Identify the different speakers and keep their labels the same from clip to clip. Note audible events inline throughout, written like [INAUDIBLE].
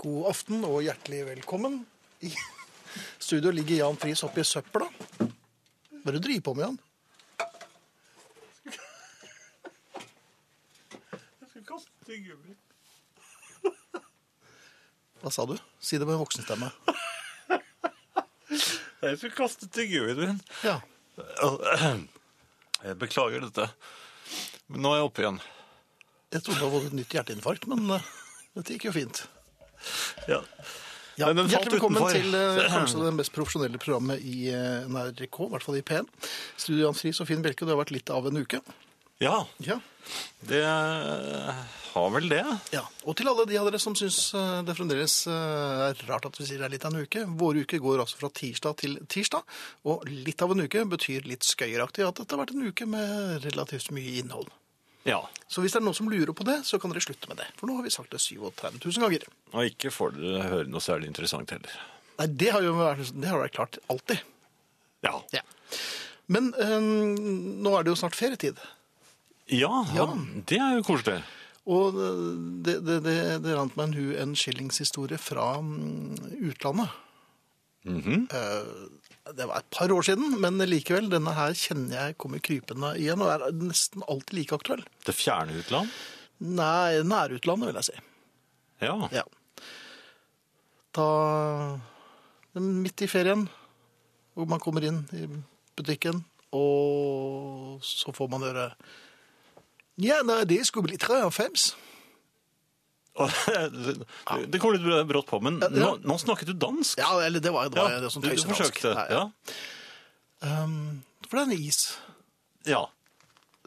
Speaker 1: God aften og hjertelig velkommen. I studio ligger Jan Friis oppi søpla. Hva er det du driver på med, Jan?
Speaker 2: Jeg skal kaste gummi.
Speaker 1: Hva sa du? Si det med voksenstemme.
Speaker 2: Jeg skal kaste til gummien min.
Speaker 1: Ja.
Speaker 2: Jeg beklager dette. Men nå er jeg oppe igjen.
Speaker 1: Jeg trodde du hadde fått et nytt hjerteinfarkt, men eh, dette gikk jo fint.
Speaker 2: Ja.
Speaker 1: Ja,
Speaker 2: Men den falt
Speaker 1: Hjertelig velkommen
Speaker 2: utenfor.
Speaker 1: til
Speaker 2: [CLEARS THROAT]
Speaker 1: eh, kanskje det mest profesjonelle programmet i eh, NRK, i hvert fall i P1. Studio Jan Friis og Finn Bjelke, det har vært litt av en uke. Ja.
Speaker 2: det har vel det.
Speaker 1: Ja, Og til alle de av dere som syns eh, det fremdeles eh, er rart at vi sier det er litt av en uke. Våre uker går altså fra tirsdag til tirsdag, og litt av en uke betyr litt skøyeraktig at dette har vært en uke med relativt mye innhold.
Speaker 2: Ja.
Speaker 1: Så hvis det er noen som lurer på det, så kan dere slutte med det. For nå har vi sagt det 37 000 ganger.
Speaker 2: Og ikke får dere høre noe særlig interessant heller.
Speaker 1: Nei, det har jo vært, det har vært klart alltid.
Speaker 2: Ja.
Speaker 1: Ja. Men eh, nå er det jo snart ferietid.
Speaker 2: Ja,
Speaker 1: Ja.
Speaker 2: det er jo koselig.
Speaker 1: Og eh, det, det, det, det rant meg en hu en skillingshistorie fra mm, utlandet.
Speaker 2: Mhm.
Speaker 1: Eh, Det var et par år siden, men likevel, denne her kjenner jeg kommer krypende igjen, og er nesten alltid like aktuell.
Speaker 2: Det fjerne utland.
Speaker 1: Nei, nærutlandet, vil jeg si.
Speaker 2: Ja.
Speaker 1: Ja. Da Midt i ferien, hvor man kommer inn i butikken, og så får man høre Ja, nei, det skulle bli 93.
Speaker 2: Og det- [LAUGHS] Det kom litt brått på, men
Speaker 1: Ja, ja.
Speaker 2: nå, nå snakket du dansk.
Speaker 1: Ja, eller det var, det var det som
Speaker 2: du, du
Speaker 1: tøyset dansk.
Speaker 2: forsøkte.
Speaker 1: Nei,
Speaker 2: Ja.
Speaker 1: Um, for det er en is.
Speaker 2: ja.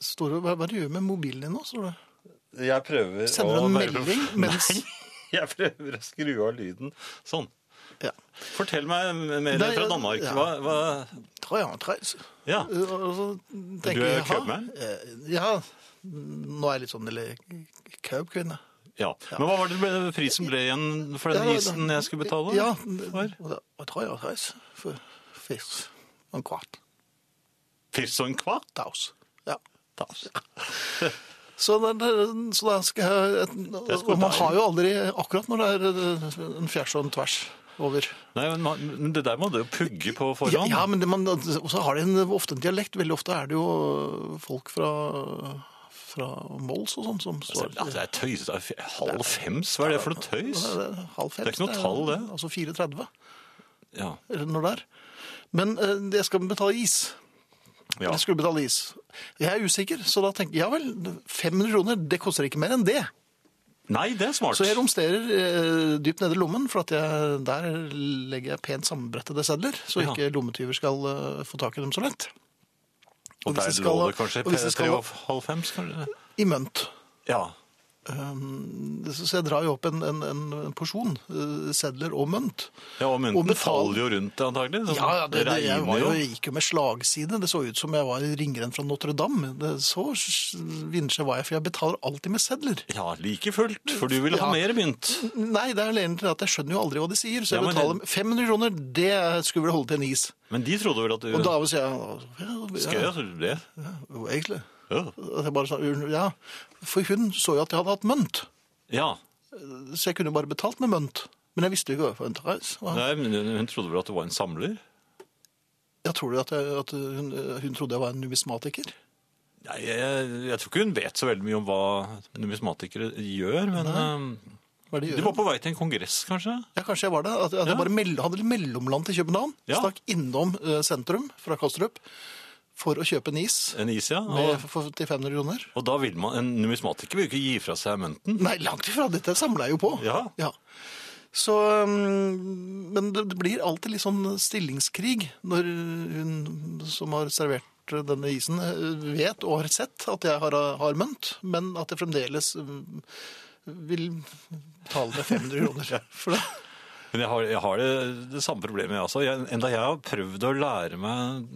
Speaker 1: Står det, hva, hva er det du gjør med mobilen din nå? står det?
Speaker 2: Jeg prøver
Speaker 1: Sender
Speaker 2: å
Speaker 1: en
Speaker 2: være-
Speaker 1: melding mens
Speaker 2: Nei, [LAUGHS] jeg prøver å skru av lyden. Sånn.
Speaker 1: ja.
Speaker 2: Fortell meg mer
Speaker 1: Nei,
Speaker 2: fra
Speaker 1: ja,
Speaker 2: Danmark.
Speaker 1: ja.
Speaker 2: Hva, hva...
Speaker 1: Tre og en treis.
Speaker 2: Ja.
Speaker 1: Eh, Og så tenker
Speaker 2: Du er
Speaker 1: jeg, jaha,
Speaker 2: købmann?
Speaker 1: eh, Ja. Nå er jeg litt sånn eller købkvinne.
Speaker 2: ja. Men hva var det ble- prisen ble igjen for den
Speaker 1: Ja, da-
Speaker 2: isen jeg skulle betale?
Speaker 1: Ja.
Speaker 2: Var?
Speaker 1: Og da- og tre og en treis for fisk og en kvart.
Speaker 2: Firs og en kvart?
Speaker 1: Daus. Ja.
Speaker 2: Daus.
Speaker 1: Så da, da- så da skal jeg
Speaker 2: Det er
Speaker 1: Og man
Speaker 2: spontan.
Speaker 1: har jo aldri akkurat når det er eh, en fjærs og en tvers over.
Speaker 2: Nei, men man- men det der må du jo pugge på
Speaker 1: Ja,
Speaker 2: forhånd.
Speaker 1: ja men det, man, og så har de en, ofte en dialekt. Veldig ofte er det jo folk fra, fra Mols og sånn som
Speaker 2: Altså,
Speaker 1: står
Speaker 2: altså, det er tøys. det er f- Halv fems? Hva er det for noe tøys?
Speaker 1: Ja, det er Halv fem.
Speaker 2: Det er ikke noe tall, det.
Speaker 1: Altså 4,30,
Speaker 2: Ja.
Speaker 1: eller når det er. Men eh, jeg skal betale is.
Speaker 2: ja.
Speaker 1: Jeg skulle betale is. Jeg er usikker, så da tenker jeg, ja vel, 500 kroner, det koster ikke mer enn det.
Speaker 2: Nei, det er smart.
Speaker 1: Så jeg romsterer eh, dypt nede i lommen, for at jeg, der legger jeg pent sammenbrettede sedler, så
Speaker 2: Ja.
Speaker 1: ikke lommetyver skal eh, få tak i dem så lett.
Speaker 2: Og
Speaker 1: hvis
Speaker 2: der
Speaker 1: det skal-
Speaker 2: lå det kanskje
Speaker 1: og hvis det
Speaker 2: tre
Speaker 1: skal-
Speaker 2: og halv fems? kanskje?
Speaker 1: I mønt.
Speaker 2: Ja.
Speaker 1: Um, så så jeg drar jo opp en, en, en porsjon eh, sedler og mønt.
Speaker 2: ja. Og mynten
Speaker 1: Og betal-
Speaker 2: faller jo rundt antagelig. sånn.
Speaker 1: Ja, ja, det, det, jeg,
Speaker 2: reimer
Speaker 1: var jo,
Speaker 2: jo.
Speaker 1: jeg gikk jo med slagside. Det så ut som jeg var i ringrenn fra Notre-Dame. Det Så s- vinsje var jeg, for jeg betaler alltid med sedler.
Speaker 2: Ja, like fullt, for du ville ha
Speaker 1: Ja.
Speaker 2: mer mynt.
Speaker 1: Nei, det er alene til at jeg skjønner jo aldri hva de sier, så jeg
Speaker 2: Ja, men
Speaker 1: betaler 500 kroner. Det skulle vel holde til en is.
Speaker 2: Men de trodde vel at du
Speaker 1: Og da sier jeg ja,
Speaker 2: Skal
Speaker 1: ja,
Speaker 2: jeg det?
Speaker 1: jo, egentlig.
Speaker 2: Ja.
Speaker 1: Og Jeg bare sa, ja, For hun så jo at jeg hadde hatt mønt,
Speaker 2: ja.
Speaker 1: så jeg kunne jo bare betalt med mønt. Men jeg visste jo ikke hva for en treis. var.
Speaker 2: Nei, men hun- hun trodde vel at du var en samler?
Speaker 1: Jeg tror jo at, jeg, at hun, hun trodde jeg var en numismatiker.
Speaker 2: Nei, jeg, jeg tror ikke hun vet så veldig mye om hva numismatikere gjør, men eh,
Speaker 1: Hva er det
Speaker 2: de var på vei til en kongress, kanskje?
Speaker 1: Ja, kanskje jeg var det. At at jeg
Speaker 2: Ja.
Speaker 1: bare mell hadde litt mellomland til København.
Speaker 2: Ja.
Speaker 1: Stakk innom eh, sentrum fra Kastrup for å kjøpe en is
Speaker 2: En is, ja.
Speaker 1: med,
Speaker 2: Og,
Speaker 1: for, til 500 kroner.
Speaker 2: og da vil man En numismatiker vil jo ikke gi fra seg mynten.
Speaker 1: Nei, langt ifra. Dette samla jeg jo på.
Speaker 2: Ja.
Speaker 1: Så, um, men det det blir alltid litt sånn stillingskrig når hun som har servert denne isen, eh, vet og har sett at jeg har, har mønt, men at jeg fremdeles um, vil betale med 500 kroner. For det.
Speaker 2: Men jeg har, jeg har det, det samme problemet, jeg også. Jeg, enda jeg har prøvd å lære meg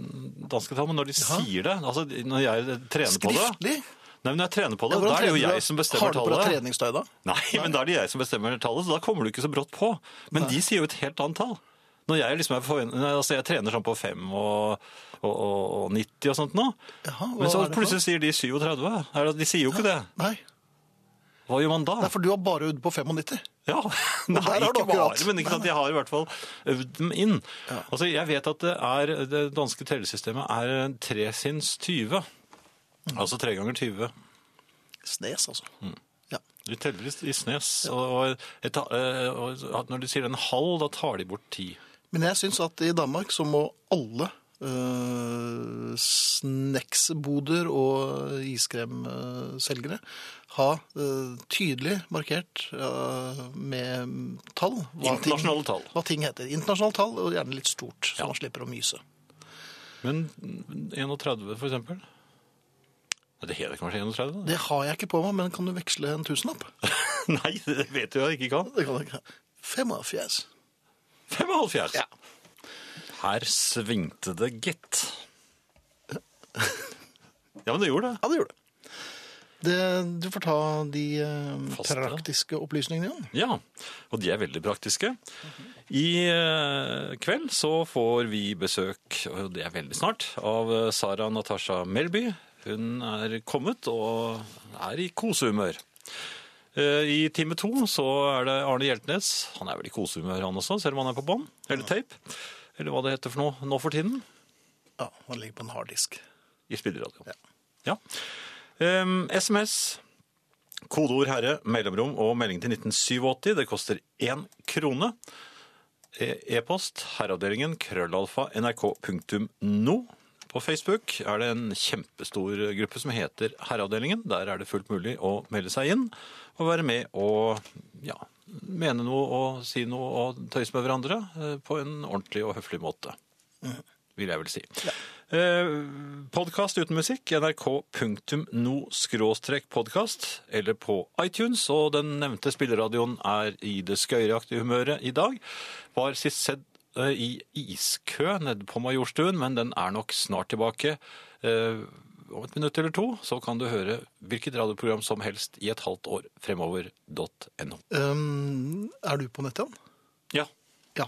Speaker 2: danske tall, men når de sier det altså Når jeg trener på det
Speaker 1: Skriftlig?
Speaker 2: Nei, men når jeg trener på det,
Speaker 1: Ja, hvordan
Speaker 2: da er det jo
Speaker 1: trener du?
Speaker 2: jeg som bestemmer
Speaker 1: Har du på deg
Speaker 2: tallet.
Speaker 1: treningstøy, da?
Speaker 2: Nei, men da er det jeg som bestemmer tallet, så da kommer du ikke så brått på. Men de sier jo et helt annet tall. Når jeg liksom er forven- nei, altså jeg trener sånn på 5 og, og, og, og 90 og sånt nå,
Speaker 1: Jaha, hva
Speaker 2: men
Speaker 1: er
Speaker 2: så
Speaker 1: det for?
Speaker 2: plutselig sier de 37. Er det- De sier jo ikke det.
Speaker 1: Nei.
Speaker 2: Hva gjør man da?
Speaker 1: Nei, for du var bare ute på 95.
Speaker 2: Ja, [LAUGHS] Nei,
Speaker 1: der har du
Speaker 2: ikke bare,
Speaker 1: akkurat.
Speaker 2: men ikke sant, jeg har i hvert fall øvd dem inn. Altså, Jeg vet at det, er, det danske tellesystemet er 3 sinns 20.
Speaker 1: Mm.
Speaker 2: Altså 3 ganger 20.
Speaker 1: Snes, altså.
Speaker 2: Mm.
Speaker 1: Ja.
Speaker 2: De teller i- i snes. Og, og, et, eh, og at når de sier en halv, da tar de bort 10.
Speaker 1: Men jeg syns at i Danmark så må alle øh, snacksboder og iskremselgere ha øh, tydelig markert øh, med tall hva ting-
Speaker 2: Internasjonale tall.
Speaker 1: hva ting heter. Internasjonale tall, og gjerne litt stort, så
Speaker 2: Ja.
Speaker 1: man slipper å myse.
Speaker 2: Men 31, for eksempel? Nei, Det heter kanskje 31? da.
Speaker 1: Det har jeg ikke på meg, men kan du veksle en tusenlapp?
Speaker 2: [LAUGHS]
Speaker 1: [LAUGHS]
Speaker 2: Nei, det vet du jeg ikke kan.
Speaker 1: Det kan jeg ikke. 85.
Speaker 2: 55! Her svingte det, gitt. Ja, men det gjorde det.
Speaker 1: Ja, det gjorde det. det du får ta de øh,
Speaker 2: Faste.
Speaker 1: praktiske opplysningene igjen.
Speaker 2: Ja, og de er veldig praktiske. I eh, kveld så får vi besøk, og det er veldig snart, av eh, Sara Natasha Melby. Hun er kommet og er i kosehumør. Eh, I time to så er det Arne Hjeltnes. Han er vel i kosehumør han også, selv om han er på bånd. Eller tape. Eller hva det heter for noe nå for tiden.
Speaker 1: Ja, han ligger på en harddisk.
Speaker 2: I spilleradio. Ja. Ehm, SMS, kodeord herre, mellomrom og melding til 1987. Det koster én krone. E- E-post herreavdelingen krøllalfa nrk.no. På Facebook er det en kjempestor gruppe som heter Herreavdelingen. Der er det fullt mulig å melde seg inn og være med og ja, mene noe og si noe og tøyse med hverandre eh, på en ordentlig og høflig måte vil jeg vel si. Eh, podcast uten musikk, nrk.no-podcast, eller på iTunes, og den nevnte spilleradioen er i det skøyeraktige humøret i dag. Var sist sett eh, i iskø nede på Majorstuen, men den er nok snart tilbake. Eh, om et minutt eller to, så kan du høre hvilket radioprogram som helst i et halvt år fremover.no.
Speaker 1: Um, er du på nettet igjen?
Speaker 2: Ja,
Speaker 1: Ja.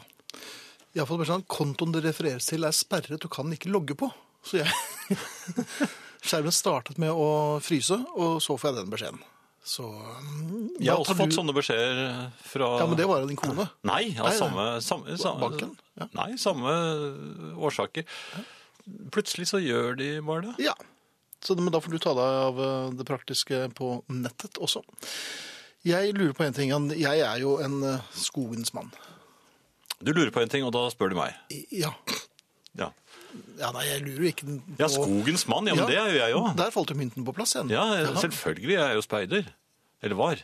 Speaker 1: Jeg har fått beskjed om sånn at kontoen det refereres til er sperret og kan ikke logge på. Så jeg [LAUGHS] Skjermen startet med å fryse, og så får jeg den beskjeden. Så mm,
Speaker 2: jeg har
Speaker 1: da
Speaker 2: også
Speaker 1: tar
Speaker 2: fått sånne beskjeder eh, fra...
Speaker 1: Ja, men det var jo din kone.
Speaker 2: Nei, av
Speaker 1: Nei, nei.
Speaker 2: samme, samme, samme
Speaker 1: Banken? Ja.
Speaker 2: Nei, samme årsaker. Plutselig så gjør de bare det.
Speaker 1: Ja. Så, men da får du ta deg av eh, det praktiske på nettet også. Jeg lurer på en ting. Jan. Jeg er jo en eh, skogens mann.
Speaker 2: Du lurer på en ting, og da spør du meg.
Speaker 1: I- Ja.
Speaker 2: Ja,
Speaker 1: ja nei, jeg lurer jo ikke på
Speaker 2: ja skogens mann, ja,
Speaker 1: Ja.
Speaker 2: men det er jo jeg òg.
Speaker 1: Der falt jo mynten på plass igjen.
Speaker 2: Ja, selvfølgelig. Jeg er jo speider. Eller var.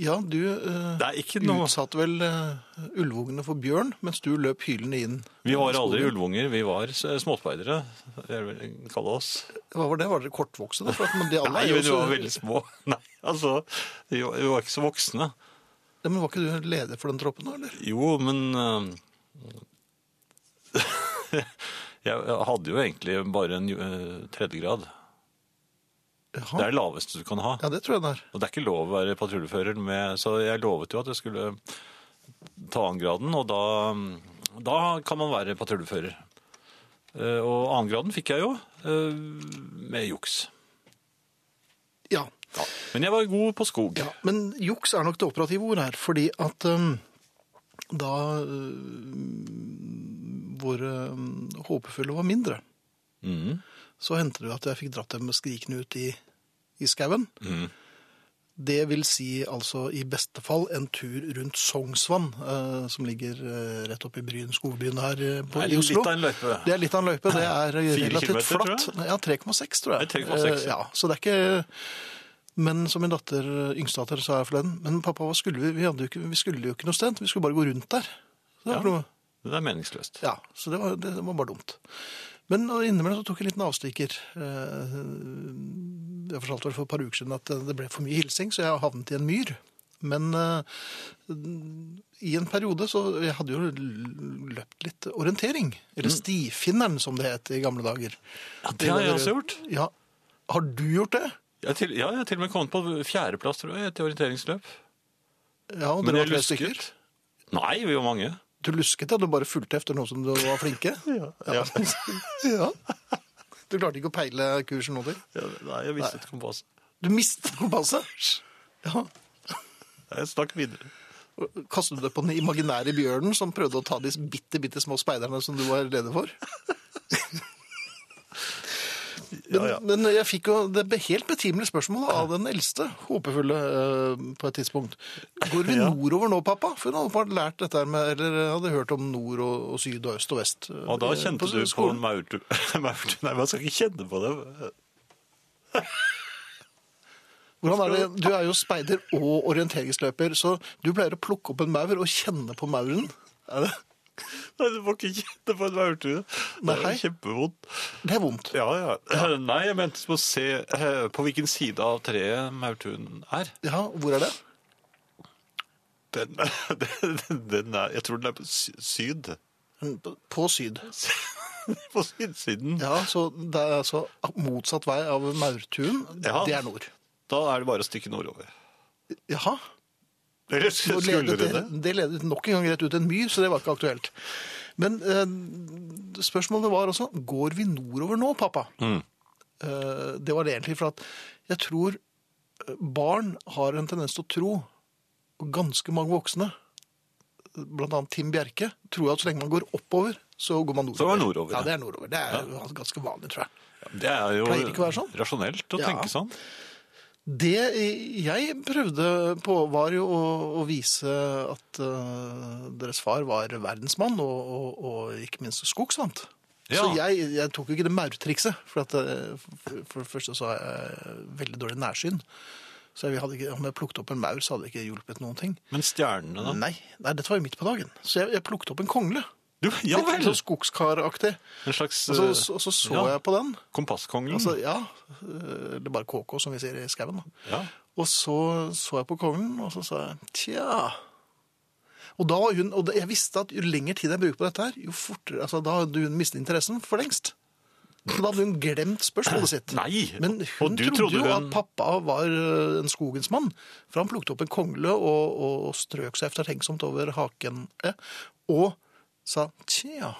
Speaker 1: Ja, du eh,
Speaker 2: Det er ikke noe
Speaker 1: utsatte vel eh, ulvungene for bjørn, mens du løp hylende inn.
Speaker 2: Vi var
Speaker 1: i
Speaker 2: aldri
Speaker 1: skogen.
Speaker 2: ulvunger, vi var s- småspeidere. Jeg vil kalle oss.
Speaker 1: Hva var det? Var dere kortvokste? da? For at- men
Speaker 2: [LAUGHS]
Speaker 1: de alle
Speaker 2: Nei, altså-
Speaker 1: er jo
Speaker 2: men vi
Speaker 1: så-
Speaker 2: var veldig små. [LAUGHS] Nei, altså, vi var, vi var ikke så voksne.
Speaker 1: Ja, men var ikke du leder for den troppen, da? eller?
Speaker 2: Jo, men eh, [LAUGHS] Jeg hadde jo egentlig bare en eh, tredje grad.
Speaker 1: Jaha.
Speaker 2: Det er det laveste du kan ha.
Speaker 1: Ja, det tror jeg det er.
Speaker 2: Og det er ikke lov å være patruljefører med Så jeg lovet jo at jeg skulle ta annengraden, og da, da kan man være patruljefører. Eh, Og annengraden fikk jeg jo eh, med juks.
Speaker 1: Ja.
Speaker 2: Men jeg var god på skog.
Speaker 1: ja. Men juks er nok det operative ord her, fordi at eh, da eh, våre eh, håpefulle var mindre,
Speaker 2: Mhm.
Speaker 1: så hendte det jo at jeg fikk dratt dem skrikende ut i, i skauen.
Speaker 2: Mhm.
Speaker 1: Det vil si altså i beste fall en tur rundt Sognsvann, eh, som ligger eh, rett oppe i Bryn, skogbyen her eh, på,
Speaker 2: Det er
Speaker 1: i Oslo.
Speaker 2: litt av en løype.
Speaker 1: Det er litt av en løype. Det er eh,
Speaker 2: Fire kilometer,
Speaker 1: relativt
Speaker 2: tror
Speaker 1: flatt. Ja, 3,6 tror jeg.
Speaker 2: Det er 3,6,
Speaker 1: Eh, Ja, så det er ikke... Men som min datter, yngstdatter, sa jeg forleden, men pappa, hva skulle vi? Vi, hadde jo ikke, vi skulle jo ikke noe sted, vi skulle bare gå rundt der. Så det var
Speaker 2: Ja.
Speaker 1: ikke noe...
Speaker 2: Det er meningsløst.
Speaker 1: Ja, så det var, det var bare dumt. Men innimellom så tok jeg en liten avstikker. Eh, Jeg fortalte vel for et par uker siden at det ble for mye hilsing, så jeg havnet i en myr. Men eh, i en periode så Jeg hadde jo løpt litt orientering. Eller stifinneren, som det het i gamle dager.
Speaker 2: Ja, Mm. det har jeg også gjort.
Speaker 1: Ja. Har du gjort det?
Speaker 2: Jeg har til, ja, jeg har til og med kommet på fjerdeplass, tror jeg, til orienteringsløp.
Speaker 1: Ja, og
Speaker 2: Men
Speaker 1: dere var
Speaker 2: jeg
Speaker 1: tre
Speaker 2: lusket.
Speaker 1: stykker.
Speaker 2: Nei, vi var mange.
Speaker 1: Du lusket, ja. Du bare fulgte etter noen som du var flinke. [LAUGHS] ja.
Speaker 2: Ja.
Speaker 1: [LAUGHS] ja. Du klarte ikke å peile kursen over?
Speaker 2: Ja, Nei, jeg mistet kompasset.
Speaker 1: Du mistet kompasset? Ja.
Speaker 2: Nei, Snakk videre.
Speaker 1: Kastet du deg på den imaginære bjørnen som prøvde å ta de bitte, bitte små speiderne som du var leder for? Men,
Speaker 2: [LAUGHS] Ja, ja.
Speaker 1: men jeg fikk jo det be- helt betimelige spørsmålet av den eldste håpefulle eh, på et tidspunkt. Går vi
Speaker 2: [LAUGHS] Ja.
Speaker 1: nordover nå, pappa? For hun hadde åpenbart lært dette her med, eller hadde hørt om nord og, og syd og øst og vest. eh,
Speaker 2: Og da
Speaker 1: eh,
Speaker 2: kjente du på en [LAUGHS] maurtue. maurtue. Nei, man skal ikke kjenne på det.
Speaker 1: Hvordan er det? Du er jo speider og orienteringsløper, så du pleier å plukke opp en maur og kjenne på mauren. Er det?
Speaker 2: Nei, du må ikke kjenne på en maurtue. Det
Speaker 1: Nei.
Speaker 2: er kjempevondt.
Speaker 1: det er vondt.
Speaker 2: Ja, ja. Nei, jeg mente på å se eh, på hvilken side av treet maurtuen er.
Speaker 1: Ja, hvor er det?
Speaker 2: Den, [LAUGHS] den, den er, jeg tror den er på sy- syd. [LAUGHS]
Speaker 1: På syd.
Speaker 2: På sydsiden.
Speaker 1: Ja, så det er altså motsatt vei av maurtuen.
Speaker 2: Ja.
Speaker 1: Det er nord.
Speaker 2: Da er det bare å stikke nordover.
Speaker 1: Jaha.
Speaker 2: Eller
Speaker 1: Nå ledet det,
Speaker 2: skuldrene.
Speaker 1: det ledet nok en gang rett ut til en myr, så det var ikke aktuelt. Men eh, spørsmålet var også går vi nordover nå, pappa?
Speaker 2: Mm.
Speaker 1: Eh, det var det egentlig, for at jeg tror eh, barn har en tendens til å tro, og ganske mange voksne, blant annet Tim Bjerke, tror at så lenge man går oppover, så går man nordover.
Speaker 2: Så går man nordover,
Speaker 1: ja.
Speaker 2: ja.
Speaker 1: det er nordover. Det er ganske vanlig, tror jeg.
Speaker 2: Det er jo
Speaker 1: Pleier det ikke å være sånn?
Speaker 2: rasjonelt å
Speaker 1: Ja.
Speaker 2: tenke sånn.
Speaker 1: Det jeg prøvde på var jo å, å vise at eh, deres far var verdensmann og, og, og ikke minst skogsvant. Så
Speaker 2: Ja.
Speaker 1: jeg, jeg tok jo ikke det maurtrikset, for, at, eh, for, for det første så har jeg veldig dårlig nærsyn. Så jeg hadde ikke, om jeg plukket opp en maur, så hadde det ikke hjulpet noen ting.
Speaker 2: Men stjernene, da?
Speaker 1: Nei, nei, dette var jo midt på dagen. Så jeg, jeg plukket opp en kongle.
Speaker 2: Du, ja
Speaker 1: Litt
Speaker 2: vel!
Speaker 1: sånn skogskaraktig.
Speaker 2: En slags
Speaker 1: Og så så, så, så
Speaker 2: ja.
Speaker 1: jeg på den.
Speaker 2: kompasskongen.
Speaker 1: Altså, ja, eh, det er bare KK som vi sier i skauen da.
Speaker 2: ja.
Speaker 1: Og så så jeg på kongen, og så sa jeg tja. Og da var hun, og jeg visste at jo lengre tid jeg bruker på dette her, jo fortere altså, Da hadde hun mistet interessen for lengst. Så da hadde hun glemt spørsmålet sitt.
Speaker 2: Nei!
Speaker 1: Men
Speaker 2: og
Speaker 1: hun
Speaker 2: du
Speaker 1: trodde, jo at
Speaker 2: hun-
Speaker 1: pappa var ø, en skogens mann, for han plukket opp en kongle og, og, og strøk seg eftertenksomt over haken eh, og sa tja.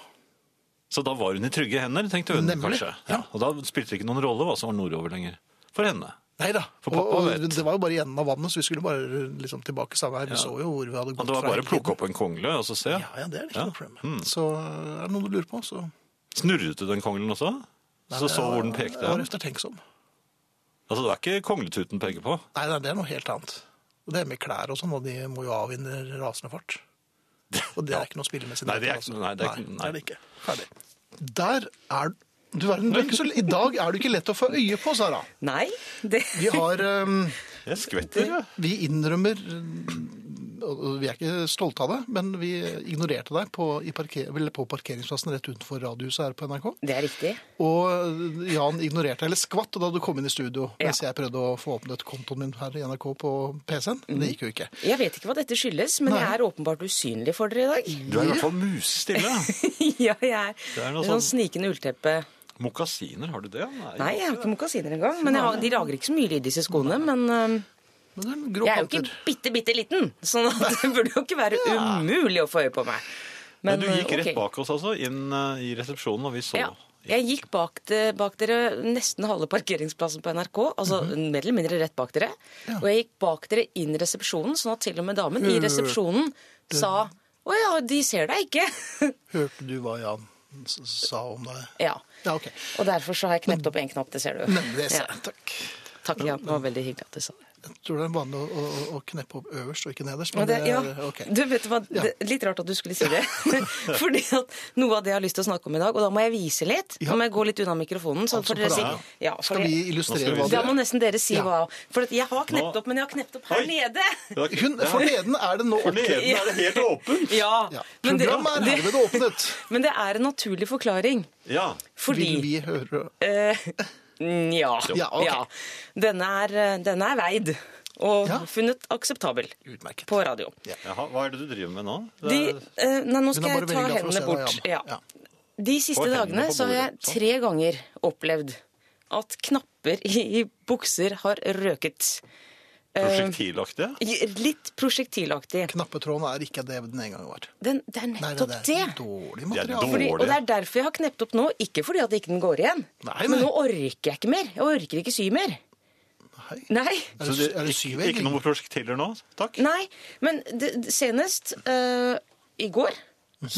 Speaker 2: Så da var hun i trygge hender, tenkte hun
Speaker 1: Nemlig,
Speaker 2: kanskje.
Speaker 1: ja.
Speaker 2: Og da spilte det ikke noen rolle hva som var nordover lenger. For henne.
Speaker 1: Nei da.
Speaker 2: For
Speaker 1: Og,
Speaker 2: pappa
Speaker 1: og
Speaker 2: vet.
Speaker 1: det var jo bare i enden av vannet, så vi skulle bare liksom, tilbake samme her. Vi så jo hvor vi hadde
Speaker 2: Og
Speaker 1: gått
Speaker 2: det var
Speaker 1: fra
Speaker 2: bare å
Speaker 1: hele
Speaker 2: plukke opp en kongle og så se.
Speaker 1: Ja, ja, det er ikke
Speaker 2: Ja. Mm.
Speaker 1: noe problem. Så er det noe du lurer på, så
Speaker 2: Snurret du den konglen også? Så så hvor den pekte
Speaker 1: Jeg var
Speaker 2: hen?
Speaker 1: eftertenksom.
Speaker 2: Altså, det er ikke kongletuten peker på.
Speaker 1: Nei, nei, det er noe helt annet. Og Det er med klær og sånn, og de må jo avvinne rasende fart. Og
Speaker 2: [LAUGHS]
Speaker 1: det er ikke noe spillemessig.
Speaker 2: Nei, det er ikke- nei, det er ikke-
Speaker 1: nei,
Speaker 2: nei.
Speaker 1: det er det ikke. Ferdig. Der er du verden, du er ikke så, I dag er du ikke lett å få øye på, Sara.
Speaker 3: Nei, det
Speaker 1: Vi har um,
Speaker 2: Jeg skvetter, jeg.
Speaker 1: Vi innrømmer og- og Vi er ikke stolte av det, men vi ignorerte deg på, i parker, vel, på parkeringsplassen rett utenfor Radiohuset her på NRK.
Speaker 3: Det er riktig.
Speaker 1: Og Jan ignorerte, eller skvatt, da du kom inn i studio.
Speaker 3: Ja.
Speaker 1: Mens jeg prøvde å få åpnet kontoen min her i NRK på PC-en. Men det gikk jo ikke.
Speaker 3: Jeg vet ikke hva dette skyldes, men jeg er åpenbart usynlig for dere i dag.
Speaker 2: Du er i hvert fall musestille.
Speaker 3: [LAUGHS]
Speaker 1: [LAUGHS]
Speaker 3: ja, jeg er,
Speaker 2: er noe
Speaker 3: en sånn
Speaker 2: sånn-
Speaker 3: snikende ullteppe.
Speaker 2: Mokasiner, har du det? Nei.
Speaker 3: Nei, jeg har ikke mokasiner engang. Men jeg har, de lager ikke så mye lyd, disse skoene. Men øhm,
Speaker 1: Men det er en grå
Speaker 3: jeg er jo
Speaker 1: panter.
Speaker 3: ikke bitte, bitte liten, [LAUGHS] sånn at det burde jo ikke være umulig å få øye på meg.
Speaker 2: Men du
Speaker 3: øh,
Speaker 2: gikk rett
Speaker 3: ok.
Speaker 2: bak oss, altså, inn eh, i resepsjonen, og vi så.
Speaker 3: Ja. Jeg gikk bak, de, bak dere nesten halve parkeringsplassen på NRK, altså
Speaker 1: Mhm.
Speaker 3: mer eller mindre rett bak dere. Og jeg gikk bak dere inn i resepsjonen, sånn at til og med damen i
Speaker 1: Hørte.
Speaker 3: resepsjonen sa å ja, de ser deg ikke. [LAUGHS]
Speaker 1: Hørte du hva Jan s- sa om deg?
Speaker 3: ja.
Speaker 1: Ja, OK.
Speaker 3: Og derfor så har jeg knept opp en knapp, det ser du.
Speaker 1: Nemlig. det ser
Speaker 3: Ja.
Speaker 1: jeg. Takk.
Speaker 3: Takk, Jan. Det var veldig hyggelig at du sa det.
Speaker 1: Jeg tror det er vanlig å, å, å kneppe opp øverst og ikke nederst.
Speaker 3: Og
Speaker 1: Men
Speaker 3: det, ja,
Speaker 1: det er, ok.
Speaker 3: du vet du hva, det, er Litt rart at du skulle si
Speaker 1: [LAUGHS]
Speaker 3: det. [LAUGHS] Fordi at noe av det jeg har lyst til å snakke om i dag, og da må jeg vise litt.
Speaker 1: Ja.
Speaker 3: Nå må jeg gå litt unna mikrofonen. Så
Speaker 1: Altså,
Speaker 3: får dere
Speaker 1: på
Speaker 3: si,
Speaker 1: radio.
Speaker 3: ja, for
Speaker 1: Skal
Speaker 3: det-
Speaker 1: vi illustrere
Speaker 2: Nå
Speaker 1: hva
Speaker 3: Da
Speaker 1: det
Speaker 3: må
Speaker 1: er?
Speaker 3: nesten dere si
Speaker 1: Ja.
Speaker 3: hva. For at jeg har knept
Speaker 2: Nå-
Speaker 3: opp, men jeg har knept opp her
Speaker 2: Oi.
Speaker 3: nede. [LAUGHS]
Speaker 1: Hun, forleden er det nå opp til
Speaker 2: Forleden er det helt åpent.
Speaker 3: Ja,
Speaker 1: ja.
Speaker 3: men, det,
Speaker 1: Programmet er
Speaker 3: det,
Speaker 1: herved åpnet.
Speaker 3: men det er en naturlig forklaring.
Speaker 2: Ja.
Speaker 3: [LAUGHS] Fordi
Speaker 1: Vil vi høre
Speaker 3: eh, [LAUGHS] Nja.
Speaker 1: Ja, ok.
Speaker 3: Denne, er, eh, denne er veid og
Speaker 1: Ja.
Speaker 3: funnet akseptabel
Speaker 1: Utmerket.
Speaker 3: på radio.
Speaker 2: Jaha, hva er det du driver med nå? Det
Speaker 3: De,
Speaker 2: er-
Speaker 3: eh, nei,
Speaker 1: Hun
Speaker 3: nå skal
Speaker 1: er
Speaker 3: jeg
Speaker 1: bare veldig
Speaker 3: ta
Speaker 1: glad for å
Speaker 3: hendene
Speaker 1: se deg,
Speaker 3: bort.
Speaker 1: Jan.
Speaker 3: Ja.
Speaker 1: Ja.
Speaker 3: De siste
Speaker 2: Få hendene
Speaker 3: dagene
Speaker 2: på
Speaker 3: så har
Speaker 2: bordet,
Speaker 3: jeg
Speaker 1: liksom.
Speaker 3: tre ganger opplevd at knapper i, i bukser har røket.
Speaker 2: Prosjektilaktige?
Speaker 3: Litt prosjektilaktig.
Speaker 1: Knappetråden er ikke det den en gang var.
Speaker 3: Den, det er
Speaker 1: Nei,
Speaker 3: nettopp
Speaker 1: nei, det
Speaker 3: det.
Speaker 1: er dårlig
Speaker 2: Det er
Speaker 1: materiale.
Speaker 3: Fordi, og
Speaker 2: Dårlig.
Speaker 3: det er derfor jeg har knept opp nå. Ikke fordi at ikke den går igjen.
Speaker 1: Nei, nei.
Speaker 3: Men nå orker jeg ikke mer. Jeg orker ikke sy mer.
Speaker 1: Hei.
Speaker 3: Nei.
Speaker 1: Er det, er det syv egg?
Speaker 2: Ikke noe prosjektiler nå, takk?
Speaker 3: Nei, men det, det- senest eh, i går,